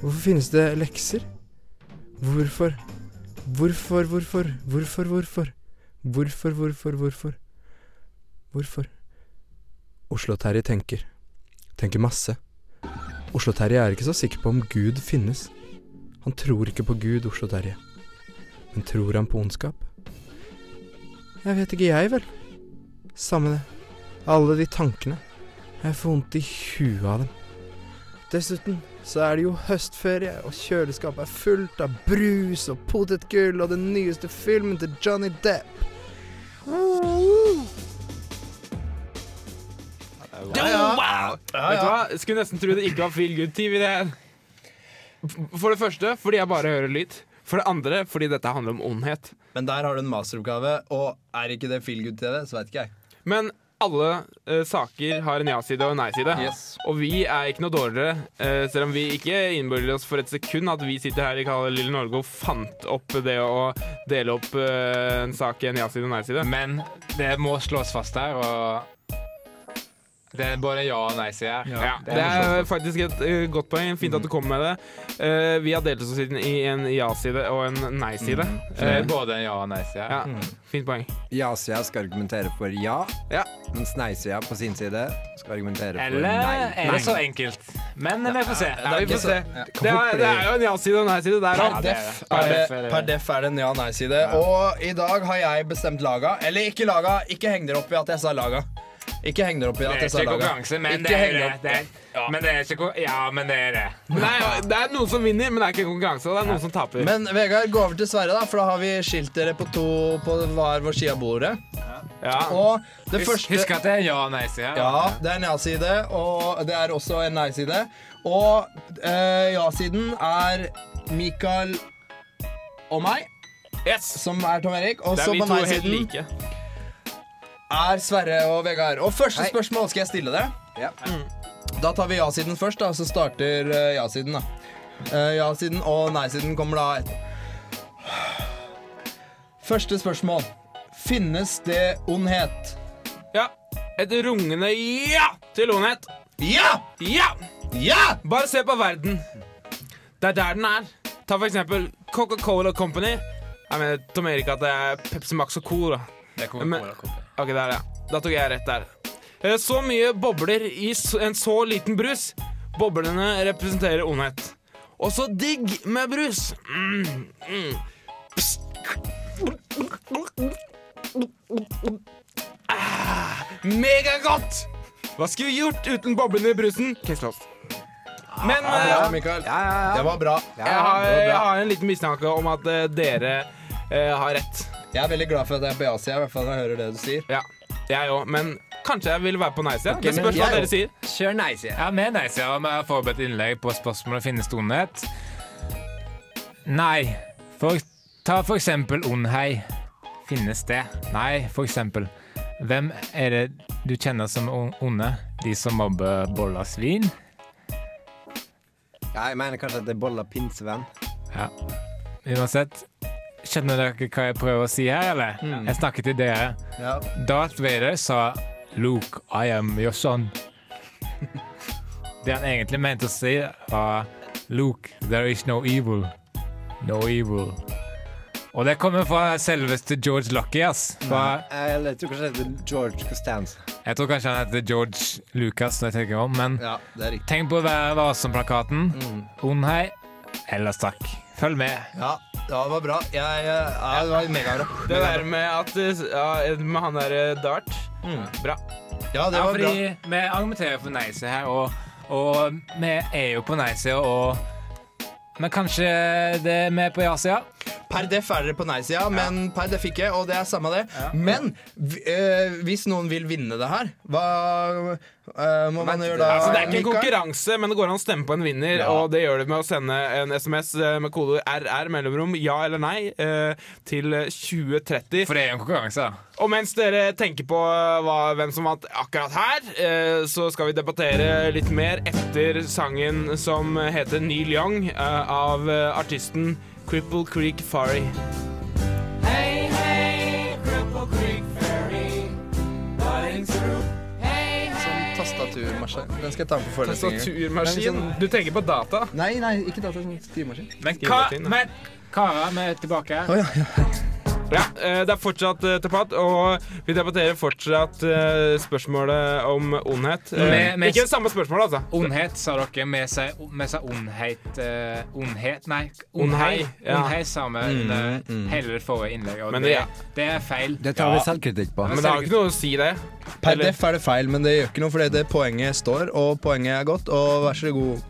Speaker 4: Hvorfor finnes det lekser? Hvorfor? Hvorfor, hvorfor? Hvorfor, hvorfor? Hvorfor, hvorfor, hvorfor? Hvorfor? Oslo-Terje tenker. Tenker masse. Oslo-Terje er ikke så sikker på om Gud finnes. Han tror ikke på Gud, Oslo-Terje. Men tror han på ondskap? Jeg vet ikke, jeg vel. Samme det. Alle de tankene. Jeg får vondt i huet av dem. Dessuten så er det jo høstferie, og kjøleskapet er fullt av brus og potetgull og den nyeste filmen til Johnny Depp.
Speaker 1: Vet du hva? Skulle nesten tro det ikke var feel good-tid i det her. F- For det første fordi jeg bare hører lyd. For det andre fordi dette handler om ondhet.
Speaker 5: Men der har du en masteroppgave, og er ikke det feel good-TV, så veit ikke jeg.
Speaker 1: Men alle eh, saker har en ja-side og en nei-side. Og vi er ikke noe dårligere, eh, selv om vi ikke innbiller oss for et sekund at vi sitter her i kalde lille Norge og fant opp det å dele opp eh, en sak i en ja-side og en nei-side.
Speaker 2: Men det må slås fast her, og det er både ja og nei-side her.
Speaker 1: Ja, det er faktisk et eh, godt poeng. Fint at du kom med det. Eh, vi har delt oss inn i en ja-side og en nei-side.
Speaker 2: Det er både en ja og en nei-side.
Speaker 1: Ja, fint poeng.
Speaker 3: Ja-sida skal argumentere for ja,
Speaker 1: Ja.
Speaker 3: mens nei-sida på sin side skal argumentere for
Speaker 2: Eller
Speaker 3: nei.
Speaker 2: er det så enkelt? Men vi får se.
Speaker 1: Ja, vi får se.
Speaker 5: Ja.
Speaker 1: Det er, det er jo en ja-side og en nei-side der
Speaker 5: Per
Speaker 1: òg.
Speaker 2: det er
Speaker 5: def,
Speaker 2: det.
Speaker 5: er
Speaker 2: Per def er
Speaker 5: det,
Speaker 2: det.
Speaker 5: per def er det en ja-nei-side. Og i dag har jeg bestemt laga. Eller ikke laga. Ikke heng dere opp i at jeg sa laga. Ikke heng dere opp i
Speaker 2: Det
Speaker 5: at
Speaker 2: er
Speaker 5: jeg sa
Speaker 2: ikke
Speaker 5: laga.
Speaker 2: konkurranse, men
Speaker 5: Ikke
Speaker 2: det er
Speaker 5: heng
Speaker 2: det.
Speaker 5: opp.
Speaker 2: det er, men det er ikke ko- Ja, men det er det.
Speaker 1: Nei, det er noen som vinner, men det er ikke konkurranse. Det er noen som taper.
Speaker 5: Men Vegard, gå over til Sverre, da, for da har vi skilt dere på to på hver vår side av bordet.
Speaker 1: ja.
Speaker 5: Og det
Speaker 2: Husk,
Speaker 5: første
Speaker 2: husk at det er ja og nei-side. her.
Speaker 5: Ja, det er en ja-side, og det er også en nei-side. Og eh, ja-siden er Mikael og meg,
Speaker 1: Yes.
Speaker 5: som er Tom Erik. Og
Speaker 1: Det
Speaker 5: så
Speaker 1: er vi
Speaker 5: på
Speaker 1: to helt
Speaker 5: nei-siden
Speaker 1: like.
Speaker 5: er Sverre og Vegard. Og første
Speaker 3: Hei.
Speaker 5: spørsmål skal jeg stille det. Mm.
Speaker 3: Ja.
Speaker 5: Da tar vi ja-siden først, da, så starter eh, ja-siden. da. Eh, ja-siden og nei-siden kommer da etter. Første spørsmål. Finnes det ondhet?
Speaker 1: Ja. Et rungende ja til ondhet.
Speaker 5: Ja!
Speaker 1: Ja!
Speaker 5: Ja!
Speaker 1: Bare se på verden. Det er der den er. Ta for eksempel Coca-Cola Company. Jeg mener Tom Erik at det er Pepsi Max og Cola.
Speaker 2: Det kommer
Speaker 1: Men-
Speaker 2: kommer- kommer.
Speaker 1: Ok, der, ja. Da tok jeg rett der. Eh, Så mye bobler i s- en så liten brus. Boblene representerer ondhet. Og så digg med brus. Mm, mm. Psst. Ah, Megagodt! Hva skulle vi gjort uten boblene i brusen? Kisslås. Men
Speaker 5: Ah, Ja,
Speaker 1: eh,
Speaker 5: Mikael.
Speaker 3: Ja, ja, ja.
Speaker 5: Det var bra.
Speaker 1: jeg, har,
Speaker 5: det var bra.
Speaker 1: jeg har en liten mistanke om at eh, dere eh, har rett.
Speaker 5: Jeg er veldig glad for at jeg er på ja-sida, i hvert fall når jeg hører det du sier.
Speaker 1: Ja, jeg òg. Men kanskje jeg vil være på nei-sida.
Speaker 3: Ok,
Speaker 1: det
Speaker 3: men
Speaker 1: spørs hva
Speaker 3: jeg-
Speaker 1: dere sier.
Speaker 3: Kjør nei-sida.
Speaker 2: Ja, med nei-sida har vi forberedt innlegg på spørsmålet finnes det ondhet. Nei. For, ta for eksempel ondhei. Finnes det? Nei, for eksempel. Hvem er det du kjenner som on- onde? De som mobber boller svin?
Speaker 3: Ja, jeg mener kanskje at det er bolla pinsevenn.
Speaker 2: Ja. Uansett, skjønner dere hva jeg prøver å si her, eller? Jeg snakker til dere.
Speaker 5: Ja.
Speaker 2: Darth Vader sa Luke, I am your son. Det han egentlig mente å si, var Luke, there is no evil. No evil. Og det kommer fra selveste George Lucky, ass. Fra,
Speaker 3: Eh, Eller jeg tror kanskje det er George Costanza.
Speaker 2: jeg tror kanskje han heter George Lucas når jeg tenker meg om, men
Speaker 5: Ja, det er riktig.
Speaker 2: tenk på Vær varsom-plakaten. Ond hei, ellers takk. Følg med.
Speaker 5: Ja, det var bra. Jeg, eh, ja, det var megabra.
Speaker 1: Det der med at eh, ja, Med han derre Dart.
Speaker 2: Mm.
Speaker 1: Bra.
Speaker 5: Ja, det
Speaker 2: Ja,
Speaker 5: var
Speaker 2: fordi
Speaker 5: bra.
Speaker 2: vi argumenterer for nei-side her, og, og vi er jo på nei-side, og Men kanskje det er vi på ja-sida?
Speaker 5: Per def er dere på nei-sida, men per def ikke, og det er samme det. Men v- eh, hvis noen vil vinne det her, hva eh, må man gjøre da?
Speaker 1: Altså, det er ikke en
Speaker 5: Mikael?
Speaker 1: konkurranse, men det går an å stemme på en vinner.
Speaker 5: Ja.
Speaker 1: Og det gjør det med å sende en SMS eh, med kode RR mellomrom ja eller nei eh, til eh, 2030.
Speaker 2: For det er jo en konkurranse, da.
Speaker 1: Og mens dere tenker på eh, hva, hvem som vant akkurat her, eh, så skal vi debattere litt mer etter sangen som heter Neil Young eh, av eh, artisten Cripple Creek Farry. Hey, hey, Cripple Creek Ferry, running through
Speaker 5: Sånn tastaturmaskin. Den skal jeg ta med på forelesningen.
Speaker 1: Tastaturmaskin. Du tenker på data?
Speaker 5: Nei, nei, ikke data, sånn skrivemaskin.
Speaker 2: liksom- Men, ka,
Speaker 1: Skrivemaskin, da.
Speaker 2: men Kara, vi er tilbake.
Speaker 5: Å, ja, ja.
Speaker 1: Ja, eh, det er fortsatt eh, debatt, og vi debatterer fortsatt eh, spørsmålet om ondhet. Eh,
Speaker 2: Med- med-
Speaker 1: Ikke det samme spørsmålet, altså.
Speaker 2: Ondhet, sa dere. Vi sa vi sa ondhet eh, Ondhet, nei.
Speaker 1: Ondhei,
Speaker 2: Ondhei,
Speaker 1: ja. Mm,
Speaker 2: ondhei sa vi under hele det forrige innlegget, og
Speaker 1: Men
Speaker 2: det,
Speaker 1: det-
Speaker 2: det er feil.
Speaker 3: Det tar vi
Speaker 1: Ja.
Speaker 3: selvkritikk på.
Speaker 1: Men det har jo ikke noe å si, det.
Speaker 5: Per
Speaker 1: Eller-
Speaker 5: def er det feil, men det gjør ikke noe, fordi det poenget står, og poenget er godt, og vær så god.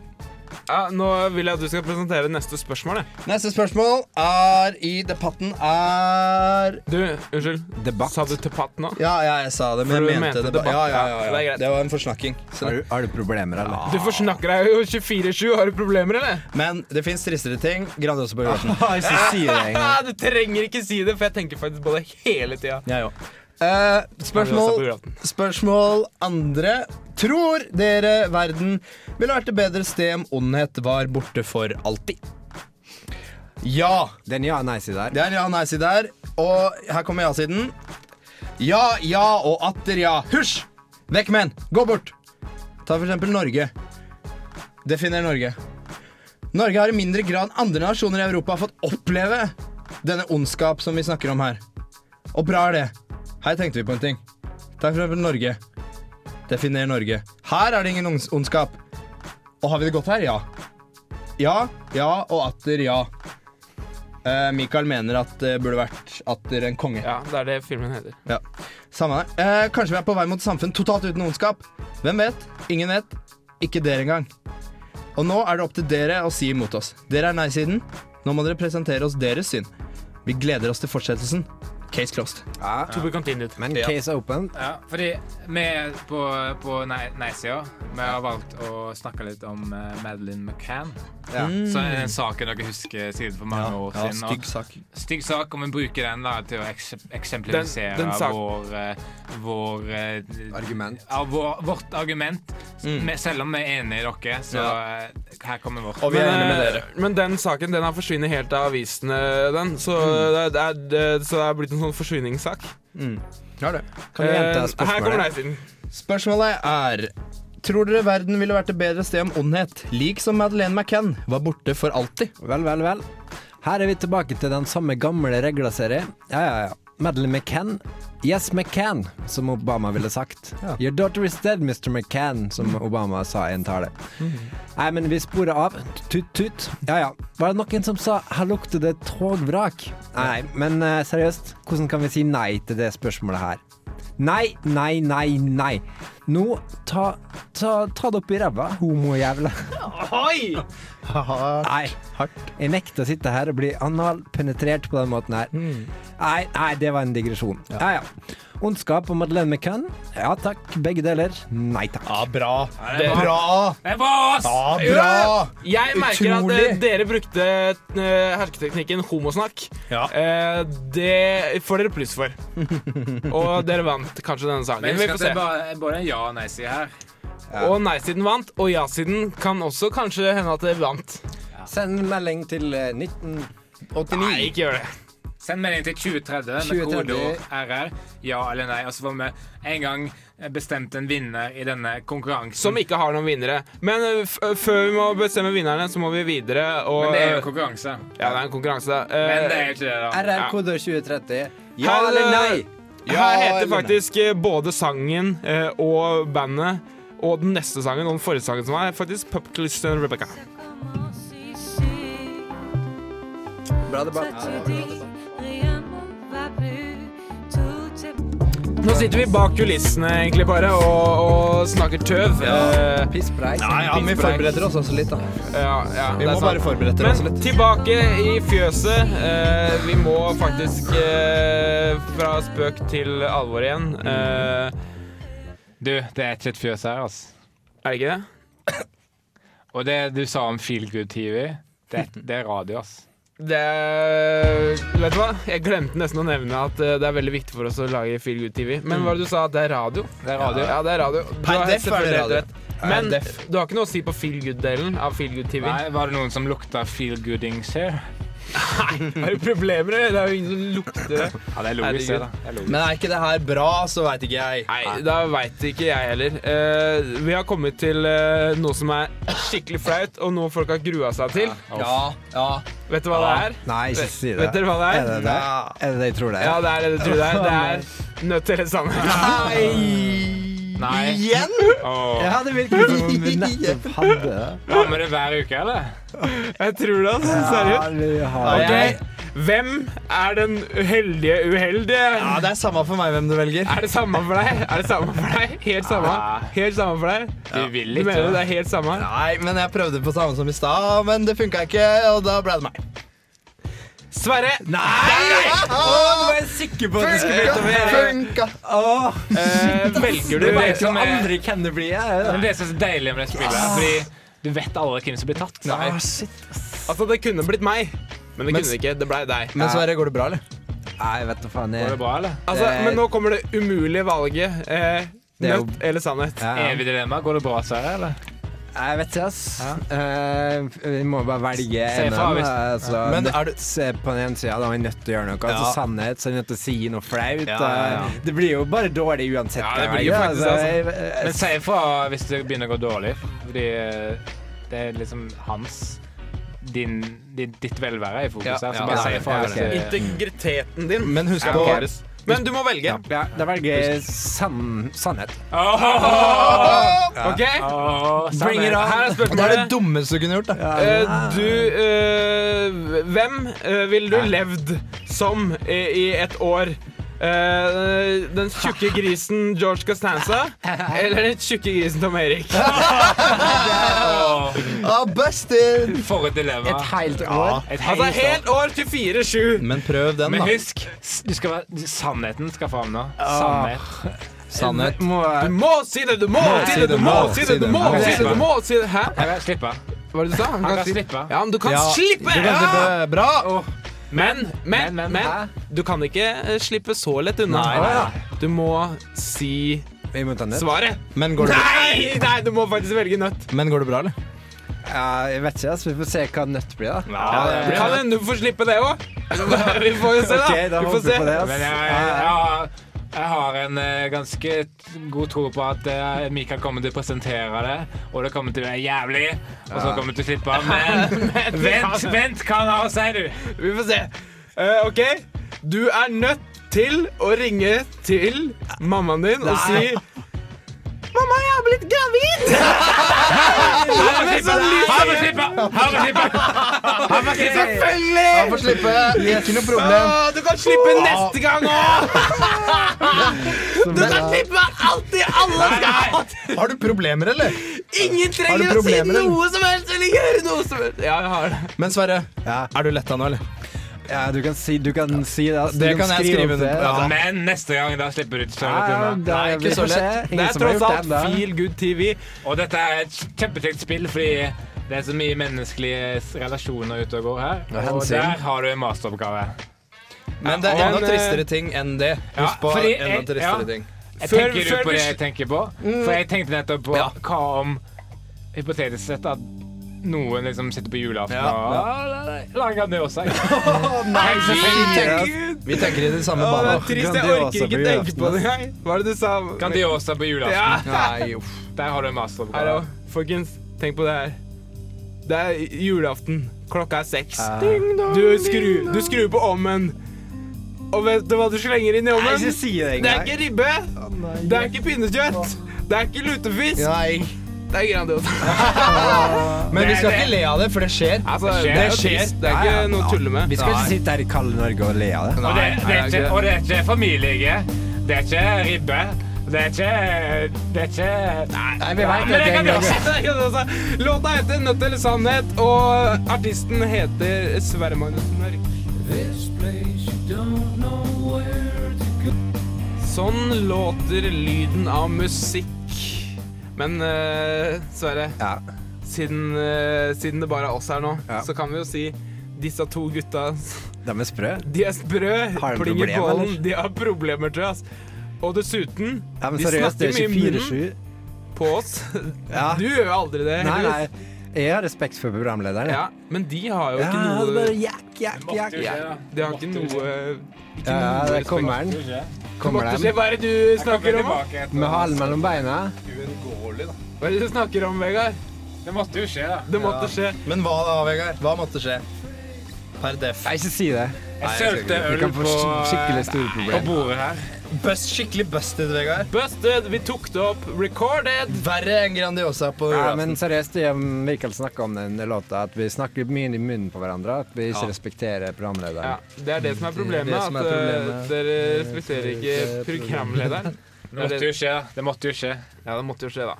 Speaker 1: Ja, nå vil jeg at du skal presentere neste spørsmål. jeg.
Speaker 5: Neste spørsmål er i debatten er
Speaker 1: Du, unnskyld.
Speaker 3: Debatt.
Speaker 1: Sa du debatt nå?
Speaker 5: Ja, ja, jeg sa det, men
Speaker 1: For
Speaker 5: jeg
Speaker 1: du
Speaker 5: mente,
Speaker 1: mente
Speaker 5: debatt.
Speaker 1: debatt.
Speaker 5: Ja, ja, ja,
Speaker 1: Ja, det er
Speaker 5: ja.
Speaker 1: greit.
Speaker 5: Det var en forsnakking. Så
Speaker 3: Har
Speaker 5: det.
Speaker 3: du, har du problemer, eller?
Speaker 1: Du forsnakker deg jo 24-7. Har du problemer, eller?
Speaker 5: Men det fins tristere ting. Grandiosa på Jorsen.
Speaker 3: Hvis du sier det en gang.
Speaker 1: Ah, du trenger ikke si det, for jeg tenker faktisk på det hele tida.
Speaker 5: Jeg òg. Eh, spørsmål, spørsmål andre. Tror dere verden ville vært et bedre sted om ondhet var borte for alltid? Ja.
Speaker 3: Den ja- og nei-siden der.
Speaker 5: Det er ja- og nei-side der. Og her kommer ja-siden. Ja, ja og atter ja. Hysj! Vekk med den! Gå bort! Ta for eksempel Norge. Definer Norge. Norge har i mindre grad enn andre nasjoner i Europa fått oppleve denne ondskap som vi snakker om her. Og bra er det. Her tenkte vi på en ting. Ta for eksempel Norge. Definer Norge. Her er det ingen ons- ondskap. Og har vi det godt her? Ja. Ja, ja og atter ja. Eh, Michael mener at det burde vært atter en konge.
Speaker 1: Ja, det er det filmen heter.
Speaker 5: Samme det. Eh, kanskje vi er på vei mot samfunn totalt uten ondskap. Hvem vet? Ingen vet. Ikke dere engang. Og nå er det opp til dere å si imot oss. Dere er nei-siden. Nå må dere presentere oss deres syn. Vi gleder oss til fortsettelsen. Case closed.
Speaker 3: Ja.
Speaker 1: To be continued.
Speaker 3: Men
Speaker 2: Ja.
Speaker 3: case open.
Speaker 2: Ja, fordi vi på, på nei- nei-sida Vi har valgt å snakke litt om eh, Madeleine McCann.
Speaker 3: Ja.
Speaker 2: Så er det den saken dere husker sikkert for mange år siden. og-
Speaker 5: sak.
Speaker 2: stygg sak, og vi bruker den da, til å ekse- eksemplifisere
Speaker 1: Den- den sak-
Speaker 2: vår, eh, vår eh,
Speaker 3: Argument.
Speaker 2: Ja, vår, vårt argument. S-
Speaker 5: Mm.
Speaker 2: vi- selv om vi er enig i dere, så eh, her kommer vårt.
Speaker 5: Og vi er
Speaker 1: Men,
Speaker 5: enige med
Speaker 1: eh,
Speaker 5: dere.
Speaker 1: men den saken den har forsvunnet helt av avisene, den. Så det, det er, det, så det er blitt en sånn forsvinningssak.
Speaker 5: Har det.
Speaker 3: Kan du gjenta
Speaker 1: Eh, her kommer
Speaker 3: spørsmålet?
Speaker 1: nei-siden.
Speaker 5: Spørsmålet er Tror dere verden ville vært et bedre sted om ondhet, lik som Madeleine McCann, var borte for alltid?
Speaker 3: Vel, vel, vel. Her er vi tilbake til den samme gamle reglaserien. Ja, ja, ja. Madeleine McCann. Yes, McCann, som Obama ville sagt. Your daughter is dead, Mr. McCann, som Obama sa i en tale. Nei, men vi sporer av. Tut, tut. Ja, ja. Var det noen som sa 'her lukter det togvrak'? Nei, men eh, seriøst, hvordan kan vi si nei til det spørsmålet her? Nei, nei, nei, nei. Nå, ta, ta, ta det opp i ræva, homojævla. Nei. Jeg nekter å sitte her og bli analpenetrert på den måten her. Nei, nei, det var en digresjon. Ja, ja. Ondskap og Madeleine McCann. Ja takk, begge deler. Nei takk.
Speaker 5: Ja, bra.
Speaker 2: det er bra.
Speaker 5: Bra!
Speaker 2: Det er bra, ass!
Speaker 5: Ja,
Speaker 1: Ja,
Speaker 5: bra!
Speaker 1: Jeg merker at eh,
Speaker 5: Utrolig.
Speaker 1: dere brukte eh, hersketeknikken homosnakk.
Speaker 5: Ja.
Speaker 1: Eh, det får dere pluss for. Og dere vant kanskje denne saken.
Speaker 2: Men
Speaker 1: Vi
Speaker 2: husk at
Speaker 1: får
Speaker 2: det
Speaker 1: se.
Speaker 2: er bare, bare en ja- og nei-side her.
Speaker 1: Og nei-siden vant, og ja-siden kan også kanskje hende at det vant.
Speaker 3: Send melding til eh, 19...
Speaker 1: Nei, ikke gjør det.
Speaker 2: Send melding til 2030 med
Speaker 3: 2030.
Speaker 2: kodeord RR, ja eller nei. Og så får vi en gang bestemt en vinner i denne konkurransen.
Speaker 1: Som ikke har noen vinnere. Men eh, f før vi må bestemme vinnerne, så må vi videre og
Speaker 2: Men det er jo konkurranse.
Speaker 1: Ja, det er en konkurranse.
Speaker 2: Men det
Speaker 1: Eh,
Speaker 2: er jo ikke det, da.
Speaker 3: RR-kode 2030. Ja
Speaker 1: Her,
Speaker 3: eller nei?
Speaker 1: Her heter
Speaker 5: eller nei?
Speaker 1: faktisk eh, både sangen eh, og bandet og den neste sangen og den forrige sangen som er faktisk Pop Christian Rebecca.
Speaker 5: Bah,
Speaker 3: Bra debatt.
Speaker 6: Bye.
Speaker 1: Nå sitter vi bak kulissene egentlig bare og, og snakker tøv. Eh,
Speaker 3: Pisspreis.
Speaker 5: Ja, ja, men vi forbereder
Speaker 3: Sånn
Speaker 5: oss også litt, da.
Speaker 1: ja, ja,
Speaker 5: Vi
Speaker 1: det er
Speaker 5: må
Speaker 1: sant.
Speaker 5: bare forberede oss
Speaker 1: Men
Speaker 5: litt.
Speaker 1: tilbake i fjøset. Eh, vi må faktisk eh, fra spøk til alvor igjen. Eh,
Speaker 2: Du, det er ikke et fjøs her, altså.
Speaker 1: er det ikke det?
Speaker 2: Og det du sa om Feel Good TV, det, det er radio, ass.
Speaker 1: Det Vet du hva? Jeg glemte nesten å nevne at eh, det er veldig viktig for oss å lage Feel Good TV. Men hva var det du sa? at Det er radio?
Speaker 2: Det er radio.
Speaker 1: Ja, det er radio. Du
Speaker 5: Per
Speaker 1: har
Speaker 5: def er det
Speaker 1: selvfølgelig helt
Speaker 5: radio.
Speaker 1: rett. Men
Speaker 5: def.
Speaker 1: du har ikke noe å si på Feel Good-delen av Feel Good TV.
Speaker 2: Nei, var det noen som lukta Feel Goodings her?
Speaker 1: Har du problemer, eller? Det er jo ingen som lukter det.
Speaker 2: Ja, det er logisk, det. da. Det er logisk.
Speaker 5: Men er ikke det her bra, så veit ikke jeg.
Speaker 1: Nei, da veit ikke jeg heller. Eh, vi har kommet til eh, noe som er skikkelig flaut, og noe folk har grua seg til.
Speaker 5: Ja, ja.
Speaker 1: Vet du hva det er?
Speaker 3: Nei, ikke si det.
Speaker 1: Vet dere hva det
Speaker 3: Er
Speaker 1: er?
Speaker 3: det det? Er det det jeg tror det
Speaker 1: Ja,
Speaker 3: er?
Speaker 1: det er det du tror det er. Det er nødt til eller sannhet.
Speaker 5: Nei.
Speaker 2: Nei.
Speaker 5: Igjen?
Speaker 2: Åh.
Speaker 3: Ja, det virker som om vi nettopp hadde det.
Speaker 2: Kommer det hver uke, eller?
Speaker 1: Jeg tror det, altså.
Speaker 3: Ja,
Speaker 1: Seriøst.
Speaker 3: vi har
Speaker 1: Ok, Hvem er den heldige uheldige?
Speaker 5: Ja, det er samme for meg hvem du velger.
Speaker 1: Er det samme for deg? Er det samme for deg? Helt samme?
Speaker 2: Ja.
Speaker 1: Helt samme for deg?
Speaker 2: Vi vil
Speaker 1: Du
Speaker 2: ikke.
Speaker 1: mener det er helt samme?
Speaker 5: Nei, men jeg prøvde på samme som i stad, men det funka ikke, og da ble det meg.
Speaker 1: Sverre!
Speaker 5: Ah,
Speaker 3: Jeg er sikker på
Speaker 5: Funka!
Speaker 1: Eh, velger du
Speaker 2: Det
Speaker 1: det
Speaker 2: vet Ah.
Speaker 1: som er
Speaker 3: Aldri kan det bli
Speaker 2: Men
Speaker 3: jeg.
Speaker 2: det som er så deilig med det spillet, er fordi du vet aldri hvem som blir tatt.
Speaker 5: Nei.
Speaker 3: Ah,
Speaker 1: Altså, det kunne blitt meg, men det
Speaker 5: Men-
Speaker 1: kunne det ikke. Det blei deg.
Speaker 5: Men Sverre, går det bra, eller?
Speaker 3: Nei, vet du faen.
Speaker 2: Går det
Speaker 3: Jeg.
Speaker 2: bra, eller?
Speaker 1: Altså,
Speaker 3: Det-
Speaker 1: Men nå kommer det umulige valget. Eh,
Speaker 3: Det er jo-
Speaker 1: nødt eller sannhet?
Speaker 3: Ja, ja.
Speaker 2: Evig dilemma. Går det bra, Sverre, eller?
Speaker 3: Jeg vet ikke, ass. Eh, vi må bare velge
Speaker 2: Se
Speaker 3: en
Speaker 2: fra,
Speaker 3: av dem.
Speaker 2: hvis-
Speaker 3: Altså,
Speaker 5: Men
Speaker 3: nødt-
Speaker 5: er du-
Speaker 3: se På den ene sida er vi nødt til å gjøre noe.
Speaker 5: Ja.
Speaker 3: Altså, sannhet, så er vi nødt til å si noe flaut.
Speaker 5: Ja, ja, ja.
Speaker 3: Eh, Det blir jo bare dårlig uansett.
Speaker 1: Ja, det
Speaker 3: hva
Speaker 1: blir
Speaker 3: jeg Eh,
Speaker 1: jo
Speaker 3: gjør,
Speaker 1: faktisk det, altså.
Speaker 3: jeg- jeg-
Speaker 2: Men si ifra hvis det begynner å gå dårlig, fordi eh, det er liksom hans din, din, Ditt velvære er i fokus
Speaker 5: Ja,
Speaker 2: her, så
Speaker 5: ja,
Speaker 2: bare si
Speaker 5: ja,
Speaker 2: ifra
Speaker 3: ja,
Speaker 2: hvis det
Speaker 3: ok.
Speaker 1: Integriteten din
Speaker 5: Men husk
Speaker 1: er
Speaker 5: på-
Speaker 1: våres. Men du må velge.
Speaker 3: Ja, da velger jeg sann, sannhet.
Speaker 1: OK?
Speaker 2: Åh, sannhet.
Speaker 1: Bring it on. Her er
Speaker 5: Det er det
Speaker 1: spørsmålet.
Speaker 5: dummeste du kunne gjort. da.
Speaker 1: Eh, du eh, Hvem eh, ville du levd som i, i et år? Eh, den tjukke grisen George Costanza eller den tjukke grisen Tom Erik?
Speaker 2: Åh,
Speaker 5: Ah, busted!
Speaker 2: For et dilemma.
Speaker 3: Et helt år.
Speaker 2: Et helt
Speaker 1: Altså
Speaker 2: år.
Speaker 1: helt år 24-7.
Speaker 5: Men prøv den,
Speaker 2: Men
Speaker 5: da.
Speaker 2: husk, s- du skal være, sannheten skal fram nå. Sannhet.
Speaker 5: Sannhet.
Speaker 3: Må
Speaker 1: Du må si det, du må si det, du må si det! du må
Speaker 5: Han kan
Speaker 1: si det, du
Speaker 2: slippe.
Speaker 1: må si det. Hæ?
Speaker 2: Jeg vil slippe.
Speaker 1: Hva var det du sa?
Speaker 2: Han kan slippe.
Speaker 1: Ja, men du kan
Speaker 5: Ja,
Speaker 1: slippe!
Speaker 5: Det var
Speaker 1: Ja!
Speaker 5: veldig bra.
Speaker 1: Men, men,
Speaker 2: Men,
Speaker 1: men,
Speaker 2: men,
Speaker 1: du kan ikke eh, slippe så lett unna.
Speaker 5: nei,
Speaker 1: Du må si
Speaker 3: Vi må ta nøtt.
Speaker 1: svaret.
Speaker 5: Men går det,
Speaker 1: Nei! nei, du må faktisk velge nøtt.
Speaker 5: men går det bra, eller?
Speaker 3: Ja, jeg vet ikke, ass. Vi får se hva nøtt blir, da.
Speaker 2: Ja, det
Speaker 1: Det kan hende du får slippe det òg. Vi får jo se, da.
Speaker 3: Ok, da
Speaker 1: vi
Speaker 3: håper
Speaker 1: får
Speaker 3: Ah, vi
Speaker 1: se.
Speaker 3: på det, ass.
Speaker 2: Men jeg, jeg, har- jeg har en eh, ganske t- god tro på at eh, Mikael kommer til å presentere det, og det kommer til å være jævlig, og så kommer du til å slippe. Men vent, vent, hva han har å si, du?
Speaker 1: Vi får se. Eh, OK, du er nødt til å ringe til mammaen din og si Mamma, jeg har blitt gravid!
Speaker 2: Han må slippe! Han må slippe! Han må slippe! Han må slippe!
Speaker 5: Han får slippe. Ikke noe problem.
Speaker 1: Å, du kan slippe neste gang òg! Du kan slippe alltid alle skal!
Speaker 5: Har du problemer, eller?
Speaker 1: Ingen
Speaker 5: Har du
Speaker 1: trenger å si
Speaker 5: problemer, eller?
Speaker 1: noe som helst eller gjøre noe som helst. Ja, jeg har det.
Speaker 5: Men Sverre,
Speaker 3: Ja.
Speaker 5: er du letta nå, eller?
Speaker 3: Ja, du kan si, du kan si det. ass. Du
Speaker 5: Det kan jeg skrive
Speaker 3: opp
Speaker 5: under på.
Speaker 3: Ja.
Speaker 5: Ja.
Speaker 2: Men neste gang, da slipper du ikke
Speaker 3: Ja,
Speaker 2: sannheten
Speaker 3: ja,
Speaker 2: unna.
Speaker 3: da,
Speaker 5: Nei, ikke
Speaker 3: vi
Speaker 5: så
Speaker 3: får se.
Speaker 5: lett.
Speaker 1: Det
Speaker 3: Ingen
Speaker 1: er
Speaker 3: som har
Speaker 1: tross
Speaker 3: gjort
Speaker 1: alt
Speaker 3: det ennå.
Speaker 1: feel good TV.
Speaker 2: Og dette er et kjempekjekt spill, fordi det er så mye menneskelige relasjoner ute og går her. Og
Speaker 3: hensyn.
Speaker 2: der har du en masteroppgave.
Speaker 5: Men det er
Speaker 2: Ja,
Speaker 5: enda
Speaker 2: men, eh,
Speaker 5: tristere ting enn det.
Speaker 2: Ja,
Speaker 5: Husk på
Speaker 2: fordi
Speaker 5: enda
Speaker 2: jeg-
Speaker 5: tristere
Speaker 2: ja.
Speaker 5: ting.
Speaker 2: Jeg
Speaker 1: Før-
Speaker 2: tenker
Speaker 1: før
Speaker 2: ut på
Speaker 1: vi
Speaker 2: det
Speaker 1: sl-
Speaker 2: jeg tenker på. For jeg tenkte nettopp på hva om hypotetisk sett at noen liksom sitter på julaften
Speaker 5: Ja.
Speaker 2: og lager en nødsang. Nei,
Speaker 5: Vi tenker i de samme
Speaker 1: Å, det er
Speaker 5: banene.
Speaker 1: trist. Jeg
Speaker 3: Grandiosa
Speaker 1: orker ikke
Speaker 3: på
Speaker 1: tenke
Speaker 3: julaften,
Speaker 1: på det engang. Hva er det du sa?
Speaker 2: Grandiosa på julaften.
Speaker 1: Ja.
Speaker 5: Nei, uff.
Speaker 2: Der har du en
Speaker 1: Hallo,
Speaker 2: masteroppgave.
Speaker 1: folkens. Tenk på det her. Det er julaften. Klokka er seks.
Speaker 3: Ja.
Speaker 1: Eh. Du skrur, du skrur på ommen. Og vet du hva du slenger inn i
Speaker 3: Nei,
Speaker 1: ommen?
Speaker 3: ikke si det
Speaker 1: Det er
Speaker 3: engang.
Speaker 1: ikke ribbe. Det er ikke pinnekjøtt. Det er ikke lutefisk.
Speaker 5: Nei.
Speaker 1: Det er Grandiosa.
Speaker 5: Men vi
Speaker 2: Det er
Speaker 5: skal
Speaker 2: det.
Speaker 5: ikke le av det, for det skjer.
Speaker 1: Altså,
Speaker 2: det skjer.
Speaker 1: det skjer. Det er
Speaker 3: Ja, ja.
Speaker 1: ikke noe å tulle med.
Speaker 3: Vi skal ikke sitte her i kalde Norge og le av
Speaker 2: Og
Speaker 3: det.
Speaker 2: det, det
Speaker 1: nei,
Speaker 2: er
Speaker 1: det er
Speaker 2: ikke,
Speaker 1: ikke-
Speaker 2: og det er ikke familie. Det er ikke ribbe. Det er ikke Det er ikke Nei,
Speaker 3: vi vet
Speaker 2: men det kan vi også.
Speaker 1: Altså, Låta heter 'Nødt eller sannhet', og artisten heter Sverre Magnussen Mørk. Sånn låter lyden av musikk. Men eh, Sverre,
Speaker 3: Ja.
Speaker 1: siden, eh, siden det bare er oss her nå,
Speaker 3: Ja.
Speaker 1: så kan vi jo si disse to gutta
Speaker 3: De er sprø.
Speaker 1: De er sprø,
Speaker 3: Har de
Speaker 1: plinger
Speaker 3: problem,
Speaker 1: bålen,
Speaker 3: eller?
Speaker 1: de har problemer til oss. Og dessuten,
Speaker 3: Ja, men
Speaker 1: de
Speaker 3: seriøst, det
Speaker 1: snakker
Speaker 3: er
Speaker 1: mye i munnen
Speaker 3: 24-7.
Speaker 1: på oss.
Speaker 3: Ja.
Speaker 1: Du gjør jo aldri det.
Speaker 3: Nei,
Speaker 1: heldigvis.
Speaker 3: nei. Jeg har respekt for programlederen.
Speaker 1: Ja, men de har jo
Speaker 3: Ja,
Speaker 1: ikke
Speaker 3: det er
Speaker 1: noe
Speaker 3: bare jakk, jakk, jakk.
Speaker 1: ja, De har ikke noe eh,
Speaker 3: Ja, der kommer den. Kommer
Speaker 1: Se,
Speaker 3: den
Speaker 1: hva er det du snakker om? da?
Speaker 3: med halen mellom beina.
Speaker 1: Hva er det du snakker om, Vegard?
Speaker 2: liksom. Det måtte jo skje, da.
Speaker 1: Det måtte skje.
Speaker 5: Men hva da, Vegard? Hva måtte skje? Per def.
Speaker 3: Nei, ikke si det.
Speaker 2: Jeg
Speaker 5: jeg
Speaker 2: sølte
Speaker 5: skal
Speaker 3: Vi
Speaker 2: øl
Speaker 3: kan
Speaker 2: på,
Speaker 3: få sk- skikkelig store
Speaker 2: på
Speaker 3: problemer.
Speaker 2: bordet her.
Speaker 5: Bust, skikkelig busted, Vegard.
Speaker 1: Busted, vi tok det opp. Recorded.
Speaker 5: Verre enn Grandiosa på
Speaker 3: Ja,
Speaker 5: julaften.
Speaker 3: men seriøst, jeg og Mikael snakka om den låta, at vi snakker mye i munnen på hverandre. At vi ikke respekterer
Speaker 1: Ja,
Speaker 3: programlederen.
Speaker 1: Det er det som er problemet.
Speaker 5: Det som er
Speaker 1: At eh,
Speaker 5: problemet.
Speaker 1: dere respekterer ikke programlederen.
Speaker 2: Det måtte jo skje, da. Det måtte jo skje.
Speaker 1: Ja, det måtte jo skje, da.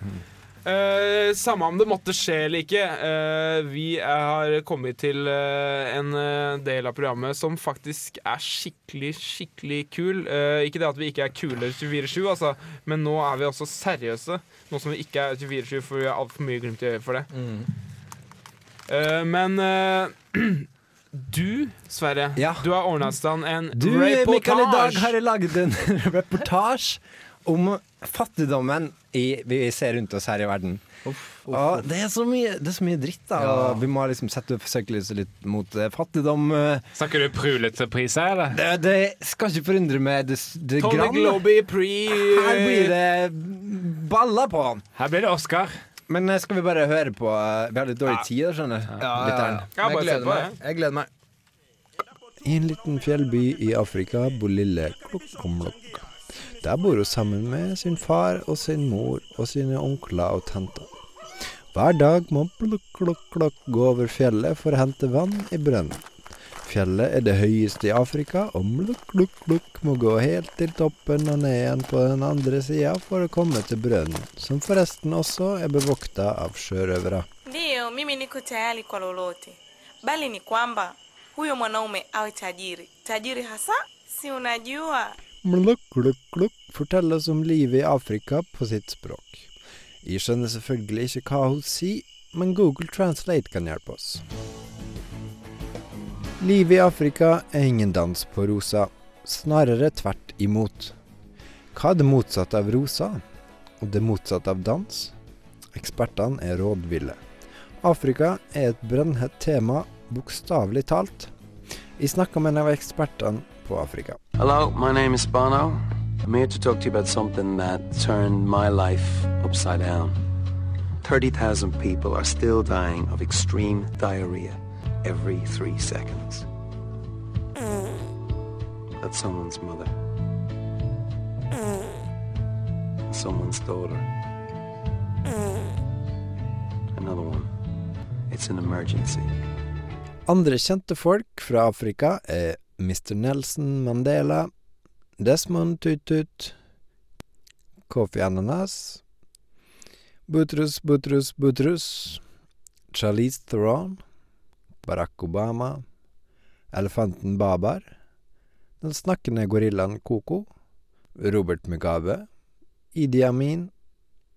Speaker 1: Eh, samme om det måtte skje eller ikke. eh, vi har kommet til eh, en eh, del av programmet som faktisk er skikkelig, skikkelig kul. Eh, ikke det at vi ikke er kule 24-7, altså, men nå er vi også seriøse. Nå som vi ikke er 24-7, for vi har altfor mye glimt i øyet for det. Eh, men eh, du, Sverre,
Speaker 3: Ja.
Speaker 1: du har ordna i stand en
Speaker 3: Du, Mikael, i dag
Speaker 1: reportasje.
Speaker 3: har jeg lagd en reportasje om fattigdommen i, vi ser rundt oss her i verden. Og det, er så mye, det er så mye dritt, da. Og vi må liksom sette søkelyset litt mot eh, fattigdom. eh.
Speaker 2: Snakker du prulete pris her, eller?
Speaker 3: Det, det skal ikke forundre meg det, det
Speaker 1: Tony
Speaker 3: grann.
Speaker 1: Globy pre...
Speaker 3: Her blir det baller på.
Speaker 2: Her blir det Oscar.
Speaker 3: Men eh, skal vi bare høre på eh, Vi har litt dårlig tid, da, skjønner du. lytteren.
Speaker 1: Ja, bare
Speaker 5: Jeg
Speaker 1: se
Speaker 5: gleder
Speaker 1: på det.
Speaker 5: meg. Jeg gleder meg.
Speaker 7: I en liten fjellby i Afrika bor lille Klokkomlokk. Der bor hun sammen med sin far og sin mor og sine onkler og tanter. Hver dag må Klokkomlokk gå over fjellet for å hente vann i brønnen. Fjellet er det høyeste i Afrika, og Klokkomlokk må gå helt til toppen og ned igjen på den andre sida for å komme til brønnen, som forresten også er bevokta av sjørøvere.
Speaker 8: Ndiyo, mimi niko tayari kwa lolote, bali ni kwamba huyo mwanaume awe tajiri, tajiri hasa, si unajua
Speaker 7: Mlukk, klukk, klukk forteller oss om livet i Afrika på sitt språk. Jeg skjønner selvfølgelig ikke hva hun sier, men Google Translate kan hjelpe oss. Livet i Afrika er ingen dans på rosa, snarere tvert imot. Hva er det motsatte av rosa? Og det motsatte av dans? Ekspertene er rådville. Afrika er et brennhett tema, bokstavelig talt. Jeg snakka med en av ekspertene på Afrika.
Speaker 9: Hello, my name is Bono. I'm here to talk to you about something that turned my life upside down. 30,000 people are still dying of extreme diarrhea every three seconds. That's someone's mother. Someone's daughter. Another one. It's an emergency.
Speaker 7: Andre kjente folk fra Afrika er Mr. Nelson Mandela, Desmond Tutut, Kofi Ananas, Butrus Butrus Butrus, Charlize Theron, Barack Obama, elefanten Babar, den snakkende gorillaen Koko, Robert Mugabe, Idi Amin,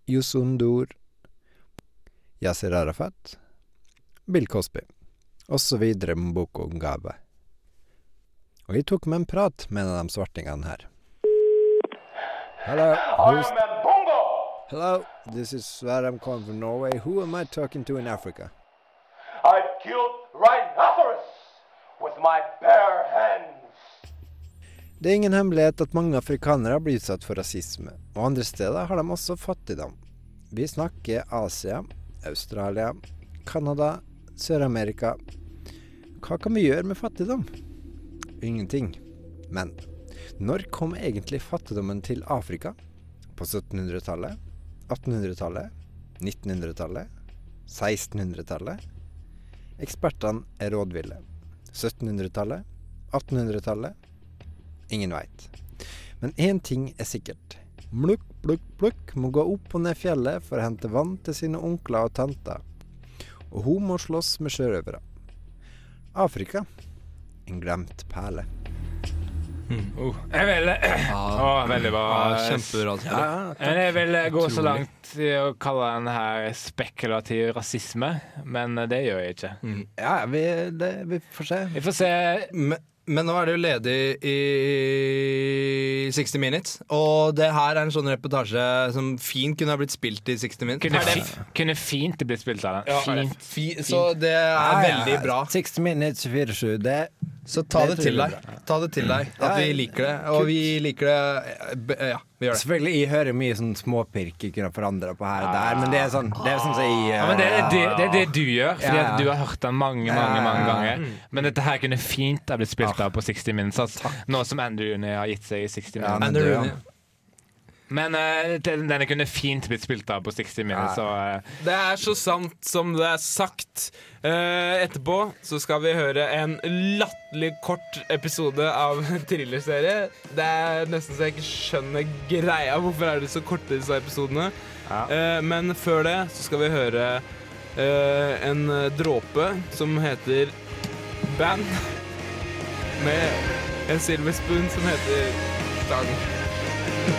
Speaker 7: Yusundur, Yasir Arafat, Bill Cosby osv. Mboko Ngabe. Og jeg tok meg en prat med en av de svartingene her. Hello, who's... Hello, this is Sverre, I'm calling from Norway. Who am I talking to in Africa?
Speaker 10: I killed rhinoceros with my bare hands.
Speaker 7: Det er ingen hemmelighet at mange afrikanere blir utsatt for rasisme, og andre steder har de også fattigdom. Vi snakker Asia, Australia, Canada, Sør-Amerika. Hva kan vi gjøre med fattigdom? Ingenting. Men når kom egentlig fattigdommen til Afrika? På 1700-tallet? 1800-tallet? 1900-tallet? 1600-tallet? Ekspertene er rådville. 1700-tallet? 1800-tallet? Ingen veit. Men én ting er sikkert. Mlukk, plukk, plukk må gå opp og ned fjellet for å hente vann til sine onkler og tanter. Og hun må slåss med sjørøvere. Afrika en glemt perle.
Speaker 2: Oh, jeg vil Å, veldig bra.
Speaker 5: Kjempebra.
Speaker 2: Men jeg vil gå så langt i å kalle den her spekulativ
Speaker 1: Mm.
Speaker 2: rasisme, men det gjør jeg ikke.
Speaker 3: Ja, vi, det, vi får se.
Speaker 2: Vi får se.
Speaker 5: Men, Men nå er det jo ledig i 60 Minutes, og det her er en sånn reportasje som fint kunne ha blitt spilt i 60 Minutes.
Speaker 2: Kunne, fi, kunne fint blitt spilt av den.
Speaker 5: Ja,
Speaker 2: Fint.
Speaker 5: fi- så det er veldig bra.
Speaker 3: 60 minutes 24-7. Det
Speaker 5: Så ta det,
Speaker 3: Det tror
Speaker 5: til deg.
Speaker 3: jeg blir
Speaker 5: Ta det til deg at vi liker det. Og vi liker det eh, b- Ja, vi gjør det.
Speaker 3: Selvfølgelig, jeg hører mye sånn småpirk jeg kunne forandra på her og der, men det er sånn Det er sånn som jeg
Speaker 2: Ja, men
Speaker 7: eh,
Speaker 2: det, er det, det er det du gjør, fordi
Speaker 3: Ja, ja.
Speaker 2: at du har hørt den mange mange,
Speaker 3: Ja,
Speaker 2: mange
Speaker 3: ja, ja.
Speaker 1: Mm.
Speaker 2: ganger. Men dette her kunne fint ha blitt spilt
Speaker 1: Ah.
Speaker 2: av på 60 Minutes. Altså. Nå som Andrew Rooney har gitt seg i 60
Speaker 3: Ja,
Speaker 2: Minutes.
Speaker 3: men
Speaker 5: And the
Speaker 3: det-
Speaker 5: Rooney.
Speaker 2: Men eh, den- denne kunne fint blitt spilt av på 60 Minutes. Og, eh,
Speaker 1: Det er så sant som det er sagt. Eh, etterpå så skal vi høre en latterlig kort episode av en thrillerserie. Det er nesten så jeg ikke skjønner greia. Hvorfor er de så korte, disse episodene?
Speaker 2: Ja.
Speaker 1: Eh, men før det så skal vi høre eh, en dråpe som heter Band. Med en silver spoon som heter Stang.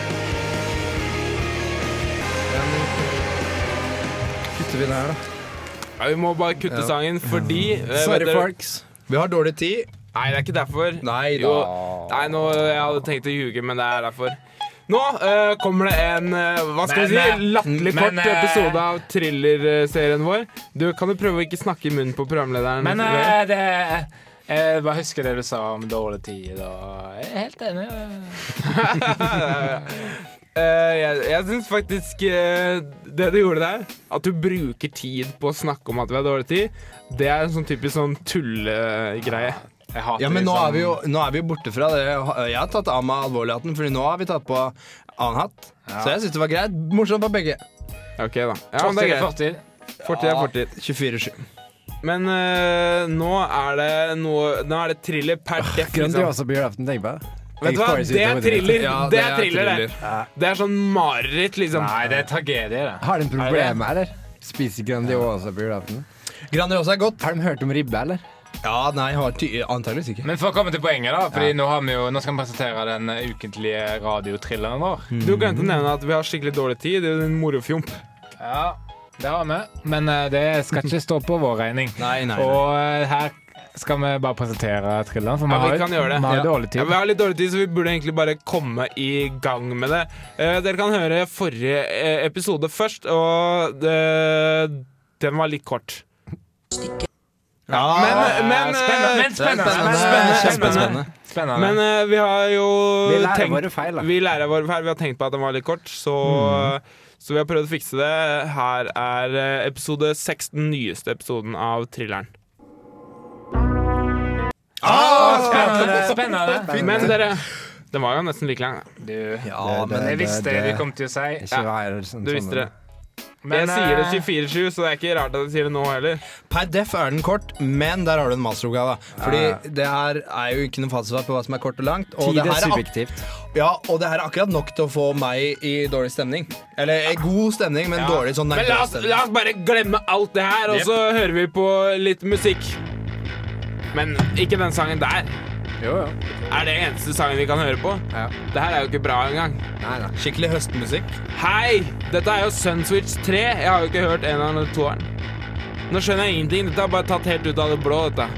Speaker 5: Kutter vi det her, da?
Speaker 1: Ja, vi må bare kutte
Speaker 5: Ja.
Speaker 1: sangen fordi eh, vet
Speaker 3: Sorry,
Speaker 1: dere-
Speaker 3: folks.
Speaker 5: Vi har dårlig tid.
Speaker 1: Nei, det er ikke derfor.
Speaker 5: Nei
Speaker 1: Jo,
Speaker 5: da.
Speaker 1: nei, nå, jeg hadde tenkt å ljuge, men det er derfor. Nå eh, kommer det en eh, hva skal
Speaker 2: Men,
Speaker 1: vi
Speaker 2: eh,
Speaker 1: si, latterlig
Speaker 2: men,
Speaker 1: kort
Speaker 2: eh,
Speaker 1: episode av thrillerserien vår. Du, Kan du prøve å ikke snakke i munnen på programlederen?
Speaker 2: men eh, det jeg bare husker det du sa om dårlig tid, og jeg er helt enig. eh.
Speaker 1: Eh, jeg jeg syns faktisk eh, det du gjorde der, at du bruker tid på å snakke om at vi har dårlig tid, det er en sånn typisk sånn tullegreie.
Speaker 2: Jeg hater
Speaker 5: Ja, men nå
Speaker 2: liksom-
Speaker 5: er vi
Speaker 1: Sånn-
Speaker 5: jo nå er vi jo borte fra det. Jeg har tatt av meg alvorligheten, Fordi nå har vi tatt på annen hatt. Så jeg syns det var greit. Morsomt på begge.
Speaker 1: OK, da. Ja, men det er
Speaker 2: Fortid er
Speaker 1: greit.
Speaker 2: fortid.
Speaker 1: Fortid er fortid.
Speaker 5: 24-7.
Speaker 1: Men eh, nå er det noe Nå er det thriller per definisjon.
Speaker 3: Grandiosa på julaften, tenk på det.
Speaker 1: Vet du hva?
Speaker 3: Explores
Speaker 1: Det er
Speaker 3: utover det.
Speaker 1: thriller.
Speaker 5: Ja,
Speaker 1: det, er thriller, det. Det er sånn mareritt, liksom.
Speaker 2: Nei, det er tragedie, det.
Speaker 3: Har de problemer, eller? Spiser Grandiosa på julaften?
Speaker 5: Grandiosa er godt.
Speaker 3: Har de hørt om ribbe, eller?
Speaker 5: Ja, nei, har ty antageligvis ikke.
Speaker 2: Men for å komme til poenget, da. Fordi nå, har vi jo, nå skal vi presentere den eh, ukentlige radiotrilleren vår.
Speaker 1: Du glemte å nevne at vi har skikkelig dårlig tid. Det er jo en morofjomp.
Speaker 2: Ja, det har vi. Men eh, det skal ikke stå på vår regning.
Speaker 5: Nei, nei, nei.
Speaker 2: Og eh, her skal vi bare presentere trilleren, for
Speaker 1: Ja,
Speaker 2: vi
Speaker 1: vi
Speaker 2: har,
Speaker 1: kan gjøre det.
Speaker 2: vi har
Speaker 1: Ja.
Speaker 2: dårlig
Speaker 1: Ja,
Speaker 2: tid.
Speaker 1: vi har litt dårlig tid, så vi burde egentlig bare komme i gang med det. Eh, dere kan høre forrige eh, episode først, og eh, den var litt kort. Men, men, eh,
Speaker 2: men spennende.
Speaker 5: Spennende.
Speaker 1: spennende.
Speaker 5: Kjempespennende.
Speaker 2: Spennende.
Speaker 1: men eh, vi har jo
Speaker 3: Vi lærer
Speaker 1: tenkt
Speaker 3: våre feil, da.
Speaker 1: Øh, Vi lærer vår feil. Vi har tenkt på at den var litt kort, så, så vi har prøvd å fikse det. Her er eh, episode 6, den nyeste episoden av thrilleren.
Speaker 2: spennende. spennende.
Speaker 1: Ah, Men dere Den var jo nesten like lang. da.
Speaker 2: Du,
Speaker 5: Ja, men
Speaker 2: jeg visste det du kom til å si.
Speaker 3: Ikke vær sånn,
Speaker 1: Du visste det. jeg
Speaker 2: Men,
Speaker 1: sier det
Speaker 2: eh,
Speaker 1: 24-7, så det er ikke rart at jeg sier det nå heller.
Speaker 5: Per def er den kort, men der har du en masteroppgave. da. Fordi det her er jo ikke noe fasitsvar på hva som er kort og langt. Og
Speaker 3: Tid
Speaker 5: det,
Speaker 3: er
Speaker 5: her er ak-
Speaker 3: subjektivt.
Speaker 5: ja, og det her er akkurat nok til å få meg i dårlig stemning. Eller eh, god stemning, men dårlig sånn
Speaker 1: Men la oss,
Speaker 5: nervøs stemning.
Speaker 1: la oss bare glemme alt det her, og så hører vi på litt musikk. Men ikke den sangen der.
Speaker 3: Jo, jo.
Speaker 1: Er det eneste sangen vi kan høre på?
Speaker 3: Ja.
Speaker 1: Det her er jo ikke bra engang.
Speaker 3: Nei, nei.
Speaker 5: Skikkelig høstmusikk.
Speaker 1: Hei! Dette er jo Sunswitch 3. Jeg har jo ikke hørt en av toeren. Nå skjønner jeg ingenting. Dette er bare tatt helt ut av det blå. dette.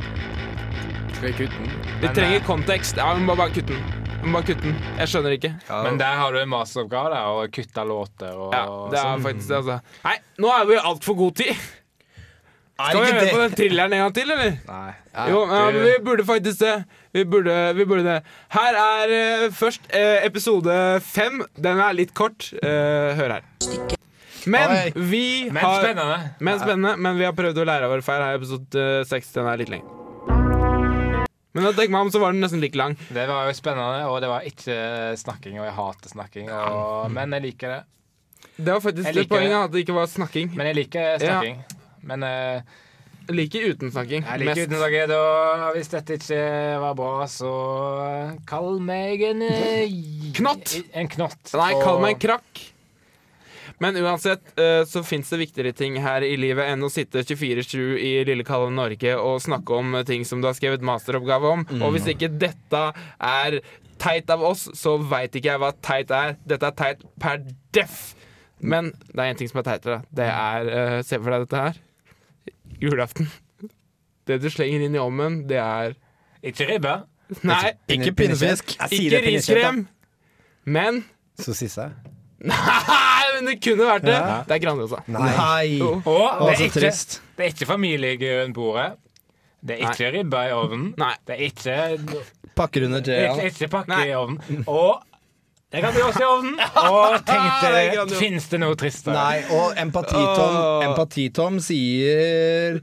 Speaker 3: Skal vi kutte den?
Speaker 1: Vi
Speaker 2: Men,
Speaker 1: trenger
Speaker 2: eh,
Speaker 1: kontekst. Ja, Vi må bare kutte den. Vi må bare kutte den. Jeg skjønner ikke.
Speaker 2: Men der har du en masteroppgave, da, å kutte låter og sånn.
Speaker 1: Ja, det er faktisk det, altså. Nei, nå er vi altfor god tid.
Speaker 5: Er
Speaker 1: Skal vi
Speaker 5: ikke
Speaker 1: høre på
Speaker 5: det
Speaker 1: den thrilleren en gang til, eller?
Speaker 2: Nei.
Speaker 1: Jo, ja, men vi burde faktisk det. Vi burde, vi burde det. Her er eh, først eh, episode fem. Den er litt kort. Eh, hør her.
Speaker 5: Oi.
Speaker 1: Men vi
Speaker 2: Men
Speaker 1: har
Speaker 2: spennende.
Speaker 1: Men spennende, men vi har prøvd å lære av våre feil her i episode eh, seks. Den er litt lenger. Men da tenker jeg meg om, så var den nesten like lang.
Speaker 2: Det var jo spennende, og det var ikke snakking, og jeg hater snakking. Og, men jeg liker det.
Speaker 1: Det var faktisk
Speaker 2: Jeg
Speaker 1: det
Speaker 2: liker
Speaker 1: poenget
Speaker 2: det.
Speaker 1: at det ikke var snakking.
Speaker 2: Men jeg liker snakking. Men eh,
Speaker 1: Jeg liker uten snakking.
Speaker 2: jeg liker
Speaker 1: mest.
Speaker 2: uten snakking. Og hvis dette ikke var bra, så eh, kall meg en eh,
Speaker 1: Knott.
Speaker 2: En knott.
Speaker 1: Nei, kall
Speaker 2: Og-
Speaker 1: meg en krakk. Men uansett eh, så fins det viktigere ting her i livet enn å sitte 24-7 i lille kalde Norge og snakke om eh, ting som du har skrevet masteroppgave om. Og hvis ikke dette er teit av oss, så veit ikke jeg hva teit er. Dette er teit per deff. Men det er én ting som er teitere. Det er eh, Se for deg dette her. Julaften. Det du slenger inn i ovnen, det er
Speaker 2: Ikke ribbe.
Speaker 1: Nei,
Speaker 5: Ikke pinnefisk.
Speaker 7: Jeg sier
Speaker 1: ikke
Speaker 7: det til Nisje,
Speaker 1: riskrem. Men
Speaker 7: Sossisse?
Speaker 1: Nei, men det kunne vært det.
Speaker 7: Ja.
Speaker 1: Det er Grandiosa.
Speaker 7: Nei.
Speaker 5: Nei.
Speaker 1: Jo.
Speaker 2: Og
Speaker 5: Å,
Speaker 2: det
Speaker 5: så
Speaker 2: er ikke,
Speaker 5: trist.
Speaker 2: det er ikke familiegøy rundt bordet. Det er ikke ribba i ovnen.
Speaker 1: Nei.
Speaker 2: Det er ikke,
Speaker 5: Pakker under
Speaker 2: det er
Speaker 5: J-en.
Speaker 2: ikke, ikke pakke i ovnen. Og det kan bli også i ovnen. Og tenkte
Speaker 1: Det er
Speaker 2: jeg,
Speaker 1: grandios.
Speaker 2: fins det noe tristere?
Speaker 5: Nei, og Empatitom Empatitom sier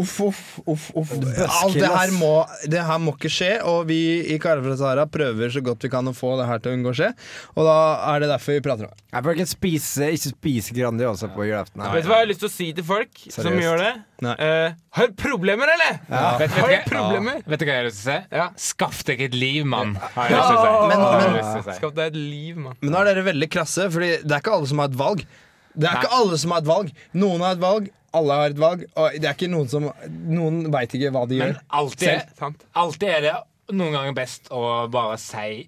Speaker 5: Uff, uff, uff. uff. Alt det her, må, det her må ikke skje, og vi i Kare fra Sahara prøver så godt vi kan å få det her til å unngå å skje. Og da er det derfor vi prater om det.
Speaker 7: Jeg bør ikke spise, ikke spise Grandiosa på julaften.
Speaker 1: Vet du hva jeg har lyst til å si til folk som
Speaker 7: Seriøst?
Speaker 1: gjør det?
Speaker 5: Nei.
Speaker 1: Eh, har du problemer, eller?
Speaker 2: Vet,
Speaker 1: Har
Speaker 2: vet, du
Speaker 1: du
Speaker 2: hva-
Speaker 1: problemer?
Speaker 2: vet du hva jeg har lyst til å si?
Speaker 1: Ja.
Speaker 2: Skaff deg et liv, mann. Har jeg lyst til å si.
Speaker 5: Men-
Speaker 2: Har jeg
Speaker 5: men-
Speaker 2: lyst til å si.
Speaker 1: Skaff deg et liv, mann.
Speaker 5: Men nå er dere veldig krasse, Fordi det er ikke alle som har et valg. Det er ikke alle som har et valg. Noen har et valg, alle har et valg, og det er ikke noen som Noen veit ikke hva de
Speaker 2: Men
Speaker 5: gjør.
Speaker 2: alltid,
Speaker 1: Sant.
Speaker 2: alltid er det noen ganger best å bare si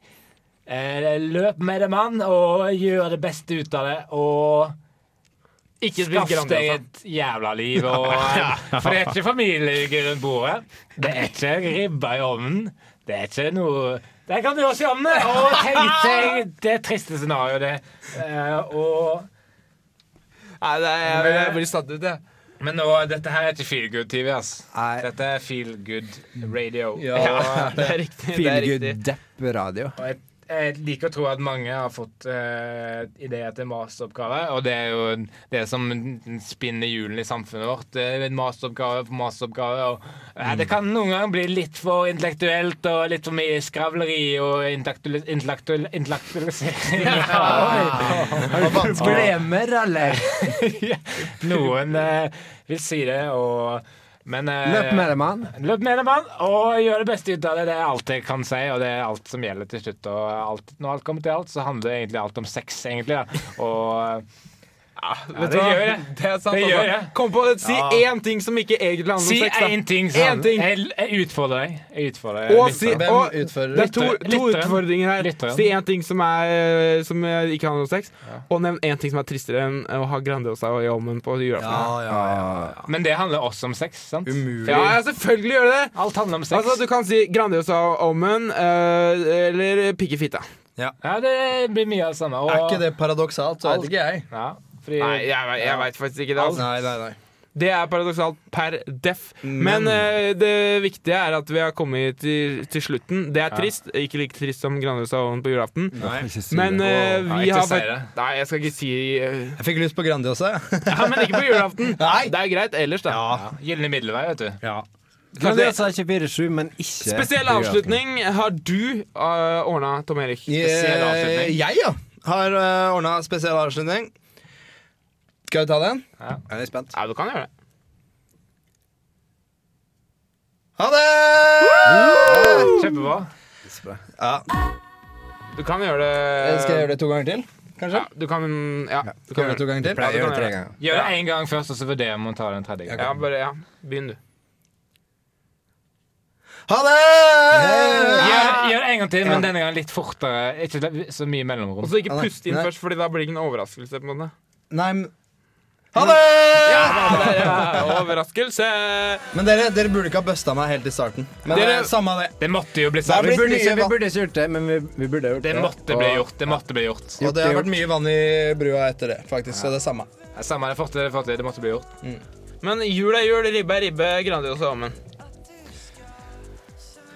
Speaker 2: eh, Løp med det, mann, og gjør det beste ut av det. Og
Speaker 1: Ikke altså. spis
Speaker 2: Skaff deg
Speaker 1: Grandiosa.
Speaker 2: et jævla liv. Og, eh, for det er ikke familie rundt bordet. Det er ikke ribba i ovnen. Det er ikke noe Der kan du også i ovnen! Og tenk deg det triste scenarioet, det. Eh, og
Speaker 1: Nei, det er, jeg, jeg blir satt ut, jeg.
Speaker 2: men nå, dette her er ikke feel good TV, ass.
Speaker 7: Nei.
Speaker 2: Dette er feel good radio.
Speaker 1: Ja, det er riktig. Det er
Speaker 7: Feel good
Speaker 1: riktig.
Speaker 7: depp-radio.
Speaker 2: Og jeg, jeg liker å tro at mange har fått eh, ideer til masteroppgave, og det er jo en- det er som spinner hjulene i samfunnet vårt. Det er en masteroppgave på masteroppgave. Og, eh,
Speaker 7: Mm.
Speaker 2: det kan noen ganger bli litt for intellektuelt og litt for mye skravleri og intellektual- intellektual- intellektualisering.
Speaker 7: Har du problemer, eller?
Speaker 2: Noen eh, vil si det, og men eh,
Speaker 7: Løp med det, mann.
Speaker 2: Løp med det, mann, og gjør det beste ut av det. Det er alt jeg kan si, og det er alt som gjelder til slutt. Og alt, når alt kommer til alt, så handler det egentlig alt om sex, egentlig. Da. Og
Speaker 1: Vet du
Speaker 2: det
Speaker 1: hva?
Speaker 2: gjør jeg.
Speaker 1: Det er sant,
Speaker 2: Det gjør
Speaker 1: altså.
Speaker 2: jeg.
Speaker 1: Kom på, si én ting som ikke egentlig handler om
Speaker 2: si
Speaker 1: sex. da.
Speaker 2: én ting,
Speaker 1: Én
Speaker 2: sånn.
Speaker 1: ting.
Speaker 2: Jeg, jeg utfordrer deg. Jeg utfordrer
Speaker 1: Og
Speaker 2: lytteren.
Speaker 1: si,
Speaker 5: Hvem
Speaker 1: og,
Speaker 5: utfører?
Speaker 1: det er to,
Speaker 2: Lytteren.
Speaker 1: to
Speaker 2: Lytteren.
Speaker 1: utfordringer her.
Speaker 2: Lytteren.
Speaker 1: Si én ting som, er, som eh, ikke handler om sex, og nevn én ting som er tristere enn å ha Grandiosa i ovnen på julaften.
Speaker 2: Men det handler også om sex, sant?
Speaker 1: Ja, ja, selvfølgelig gjør det det!
Speaker 2: Alt handler om sex.
Speaker 1: Altså, Du kan si Grandiosa og ovnen eh, eller pikk i fitta.
Speaker 2: Ja, det blir mye av det samme. Og,
Speaker 5: Er ikke det paradoksalt, så vet ikke jeg.
Speaker 2: Ja, fordi,
Speaker 1: Nei, jeg, ve- jeg veit faktisk ikke det. Altså.
Speaker 5: Nei, nei, nei.
Speaker 1: Det er paradoksalt per deff. Men eh, det viktige er at vi har kommet til, til slutten. Det er trist. Ikke like trist som Grandiosa og ovnen på julaften. Men eh,
Speaker 2: Nei,
Speaker 1: vi
Speaker 2: ikke
Speaker 1: har
Speaker 2: si
Speaker 1: fått
Speaker 2: det.
Speaker 1: Nei, jeg skal ikke si eh,
Speaker 5: Jeg fikk lyst på Grandiosa. jeg.
Speaker 1: Ja, men ikke på julaften.
Speaker 5: Nei.
Speaker 1: Det er greit ellers, da.
Speaker 2: Ja, Gylne middelvei, vet du.
Speaker 7: Grandiosa er 24-7, men ikke
Speaker 1: Spesiell
Speaker 7: på julaften.
Speaker 1: avslutning har du uh, ordna, Tom Erik.
Speaker 2: Spesiell avslutning.
Speaker 5: Eh, Jeg, ja, har uh, ordna spesiell avslutning. Skal vi ta den?
Speaker 7: Jeg er spent.
Speaker 1: Ja, du kan gjøre det.
Speaker 5: Ha det!
Speaker 2: Kjempebra.
Speaker 1: Du kan gjøre det
Speaker 5: Skal jeg gjøre det to ganger til? Kanskje?
Speaker 1: Ja, du kan Ja, du
Speaker 5: Skal
Speaker 1: kan
Speaker 5: jeg gjøre det to ganger til?
Speaker 7: Jeg
Speaker 1: Ja, du
Speaker 7: gjør
Speaker 1: kan
Speaker 7: det tre
Speaker 1: gjøre det.
Speaker 7: ganger.
Speaker 2: Gjør det én gang først, og så vurderer vi om vi tar den tredje
Speaker 1: Ja,
Speaker 2: gangen.
Speaker 1: bare ja. Begynn, du.
Speaker 5: Ha det!
Speaker 2: Gjør, gjør det en gang til, men denne gangen litt fortere. Ikke så mye mellomrom.
Speaker 1: Og så ikke
Speaker 5: Ja, nei.
Speaker 1: puste inn
Speaker 5: Nei.
Speaker 1: først, Fordi da blir det ikke en overraskelse. på en måte
Speaker 5: Nei, men Ha det!
Speaker 1: Der, ja, Overraskelse!
Speaker 5: Men dere, dere burde ikke ha busta meg helt i starten. Men
Speaker 1: Dere-
Speaker 5: dere, samme det.
Speaker 2: Det måtte jo bli
Speaker 5: Det har
Speaker 2: sagt.
Speaker 7: Vi burde,
Speaker 5: Nye
Speaker 7: ikke, vi
Speaker 5: valg.
Speaker 7: burde ikke gjort det, men vi, vi burde gjort
Speaker 2: Det
Speaker 7: det.
Speaker 2: måtte bli gjort. Det måtte bli gjort.
Speaker 5: Og det har vært mye vann i brua etter det, faktisk. Så det er samme.
Speaker 2: Samme det, fortere, fortere. Det måtte bli gjort.
Speaker 5: Mm.
Speaker 1: Men jul er jul, ribbe er ribbe, Grandiosa er ommen.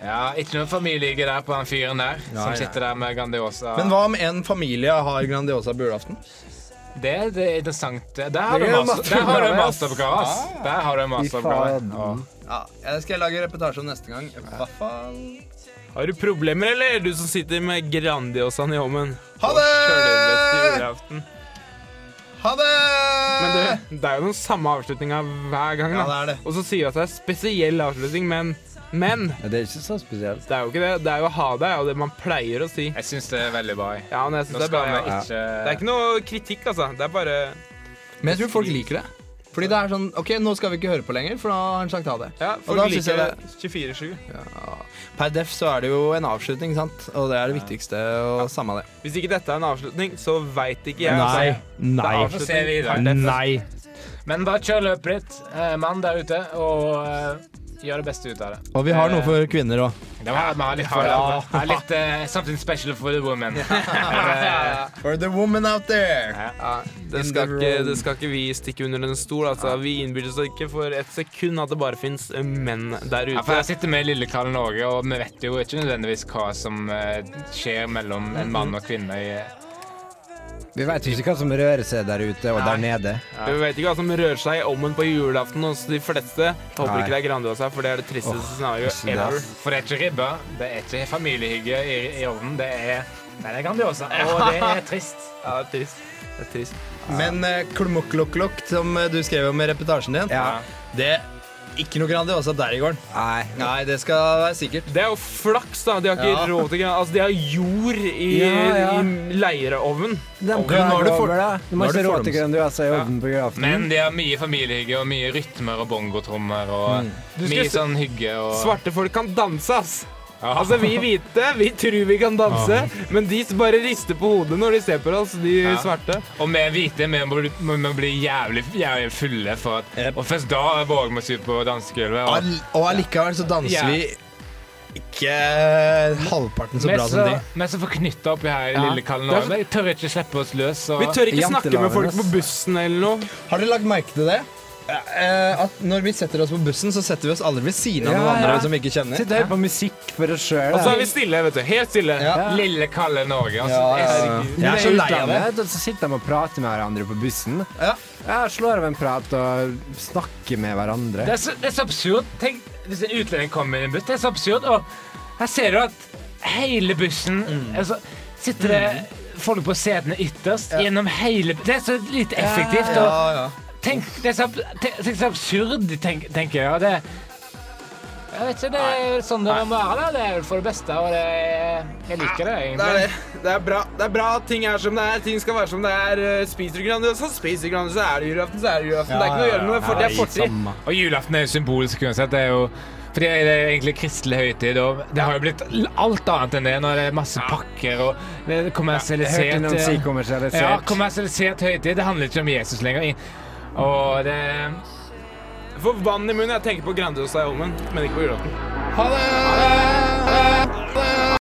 Speaker 2: Ja, Ikke noen familie der på den fyren der som sitter der med Grandiosa.
Speaker 5: Men hva om en familie har Grandiosa på julaften?
Speaker 2: Det, det er interessant. Der har du
Speaker 7: Det er
Speaker 2: master- der har du en
Speaker 7: masteroppgave,
Speaker 2: masteroppgave,
Speaker 7: ass.
Speaker 2: ass.
Speaker 1: Ah.
Speaker 2: Der har du en
Speaker 7: faen.
Speaker 2: masteroppgave. Og-
Speaker 5: Ja, Jeg skal lage reportasje om neste gang. Hva faen?
Speaker 1: Har du problemer, eller? Du som sitter med Grandiosaen i ommen.
Speaker 5: Ha det! Ha det!
Speaker 1: Men du, det er jo den samme avslutninga hver gang. Da.
Speaker 5: Ja, det er det.
Speaker 1: Og så sier vi at det er spesiell avslutning, men Men!
Speaker 7: Ja, det er ikke så spesielt.
Speaker 1: Det er jo ikke det. Det er jo ha deg, og det man pleier å si.
Speaker 2: Jeg syns det er veldig bra. jeg.
Speaker 1: Ja, men jeg
Speaker 2: Nå
Speaker 1: synes det er
Speaker 2: skal
Speaker 1: bra.
Speaker 2: vi
Speaker 1: Ja.
Speaker 2: ikke
Speaker 1: Det er ikke noe kritikk, altså. Det er bare
Speaker 5: Men jeg tror folk liker det. Fordi det er sånn OK, nå skal vi ikke høre på lenger, for da har han sagt ha det.
Speaker 1: Ja, folk
Speaker 5: da synes
Speaker 1: liker
Speaker 5: jeg
Speaker 1: det 24-7.
Speaker 5: Per def så er det jo en avslutning, sant? Og det er det viktigste. Og samme det.
Speaker 1: Hvis ikke dette er en avslutning, så veit ikke jeg. altså.
Speaker 5: Nei.
Speaker 2: Vi får se videre.
Speaker 5: Nei.
Speaker 2: Men bare kjør løpet ditt, eh, mann der ute, og eh, Gjør det beste ut av det.
Speaker 5: Og vi har noe
Speaker 2: Eh,
Speaker 5: for kvinner òg.
Speaker 2: Det var vi har litt for
Speaker 5: Ja.
Speaker 2: det er litt eh, something special for the woman. Eh,
Speaker 5: For the woman out there.
Speaker 1: Det skal, ikke, det skal ikke vi stikke under en stol. Altså. Vi innbiller oss ikke for et sekund at det bare fins menn der
Speaker 2: Ja, for
Speaker 1: ute.
Speaker 2: jeg sitter med lille Karl Norge, og vi vet jo ikke nødvendigvis hva som eh, skjer mellom en mann og kvinne. i-
Speaker 3: Vi veit jo ikke hva som rører seg der ute og der nede.
Speaker 1: Vi vet ikke hva som rører seg i ommen på julaften hos de fleste. Jeg håper
Speaker 3: Nei.
Speaker 1: ikke det er Grandiosa, for det er det tristeste scenarioet
Speaker 3: det er-
Speaker 1: ever.
Speaker 2: For det er ikke ribbe, det er ikke familiehygge i, i ovnen, det er Nei, det er Grandiosa, og det er trist.
Speaker 1: Ja, det er trist. Det er trist.
Speaker 5: Men uh, klumokklokklokk, som eh, du skrev om i reportasjen din,
Speaker 3: Ja.
Speaker 5: det er ikke noe Grandiosa der i gården.
Speaker 3: Nei.
Speaker 5: Nei, det skal være sikkert.
Speaker 1: Det er jo flaks, da. De har ikke
Speaker 5: Ja.
Speaker 1: råd til Altså, de har jord i,
Speaker 3: Ja, ja.
Speaker 1: i leireovn.
Speaker 3: De
Speaker 5: nå har
Speaker 3: klager
Speaker 5: du for-
Speaker 3: over det. De
Speaker 5: nå
Speaker 3: har
Speaker 5: har
Speaker 3: ikke
Speaker 5: du
Speaker 3: råd til
Speaker 5: fordoms-
Speaker 3: Grandiosa i ovnen på julaften.
Speaker 2: Men de har mye familiehygge og mye rytmer og bongotrommer
Speaker 5: Mm.
Speaker 2: og mye
Speaker 1: skulle-
Speaker 2: sånn hygge og
Speaker 1: Svarte folk kan danse, ass.
Speaker 2: Ja.
Speaker 1: Altså, vi hvite, vi tror vi kan danse, men de bare rister på hodet når de ser på oss, de
Speaker 2: Ja.
Speaker 1: svarte.
Speaker 2: Og vi hvite vi må, bli- må, må bli jævlig, jævlig fulle for at
Speaker 5: Yep.
Speaker 2: Og først da våger vi oss ut på dansegulvet. og-
Speaker 5: All, og allikevel så danser
Speaker 2: Ja.
Speaker 5: vi ikke eh, halvparten så
Speaker 2: Vi er
Speaker 5: bra
Speaker 2: så-
Speaker 5: som de.
Speaker 2: Vi er så forknytta oppi her i
Speaker 1: Ja.
Speaker 2: lille Kallen
Speaker 1: Det er så-
Speaker 2: Vi tør ikke slippe oss løs. Og...
Speaker 1: Vi tør ikke snakke med
Speaker 3: Jantelaven,
Speaker 1: folk på
Speaker 3: ass.
Speaker 1: bussen eller noe.
Speaker 5: Har dere lagt merke til det? Eh, at når vi setter oss på bussen, så setter vi oss aldri ved siden av
Speaker 3: Ja,
Speaker 5: noen andre
Speaker 3: ja.
Speaker 5: som vi ikke kjenner.
Speaker 3: Sitter og hører på musikk for oss sjøl.
Speaker 1: Og så er vi stille, vet du. Helt stille.
Speaker 5: Ja.
Speaker 2: Lille Kalle Norge. Altså,
Speaker 5: Ja, ja, ja.
Speaker 2: Herregud.
Speaker 5: Jeg er så lei av det.
Speaker 3: Så sitter de og prater med hverandre på bussen.
Speaker 5: Ja.
Speaker 3: Jeg slår av en prat og snakker med hverandre.
Speaker 2: Det, er så, det er så absurd. Tenk hvis en utlending kommer i en buss. Det er så absurd. Og her ser du at hele bussen
Speaker 5: Mm.
Speaker 2: altså, Sitter det folk på setene ytterst gjennom hele Det er så lite effektivt.
Speaker 5: Ja,
Speaker 2: Og
Speaker 5: ja.
Speaker 2: tenk, det er så, ab- tenk, tenk så absurd, tenk, tenker jeg. Og det jeg vet ikke, Det er sånn det må være. da. Det er vel for det beste, og det, jeg liker det
Speaker 1: Det er
Speaker 2: egentlig.
Speaker 1: det. Det er, bra. det er bra at ting er som det er. Ting skal være som det er. Eh, Spiser du Grandiosa, spiser du Grandiosa. Er det julaften, så er det julaften. det er ikke noe å gjøre med det, for det er fortid.
Speaker 2: Og julaften er jo symbolsk uansett. Det er jo fordi det er egentlig kristelig høytid, og det har jo blitt l- alt annet enn det når det er masse pakker og det er
Speaker 3: Jeg hørte
Speaker 2: kommersialisert
Speaker 3: noen si
Speaker 2: eh,
Speaker 3: kommersialisert.
Speaker 2: Ja, kommersialisert høytid. Det handler ikke om Jesus lenger. Og det
Speaker 1: Får vann i munnen. Jeg tenker på Grandiosa i ovnen, men ikke på julaften.
Speaker 5: Ha det! Ha det!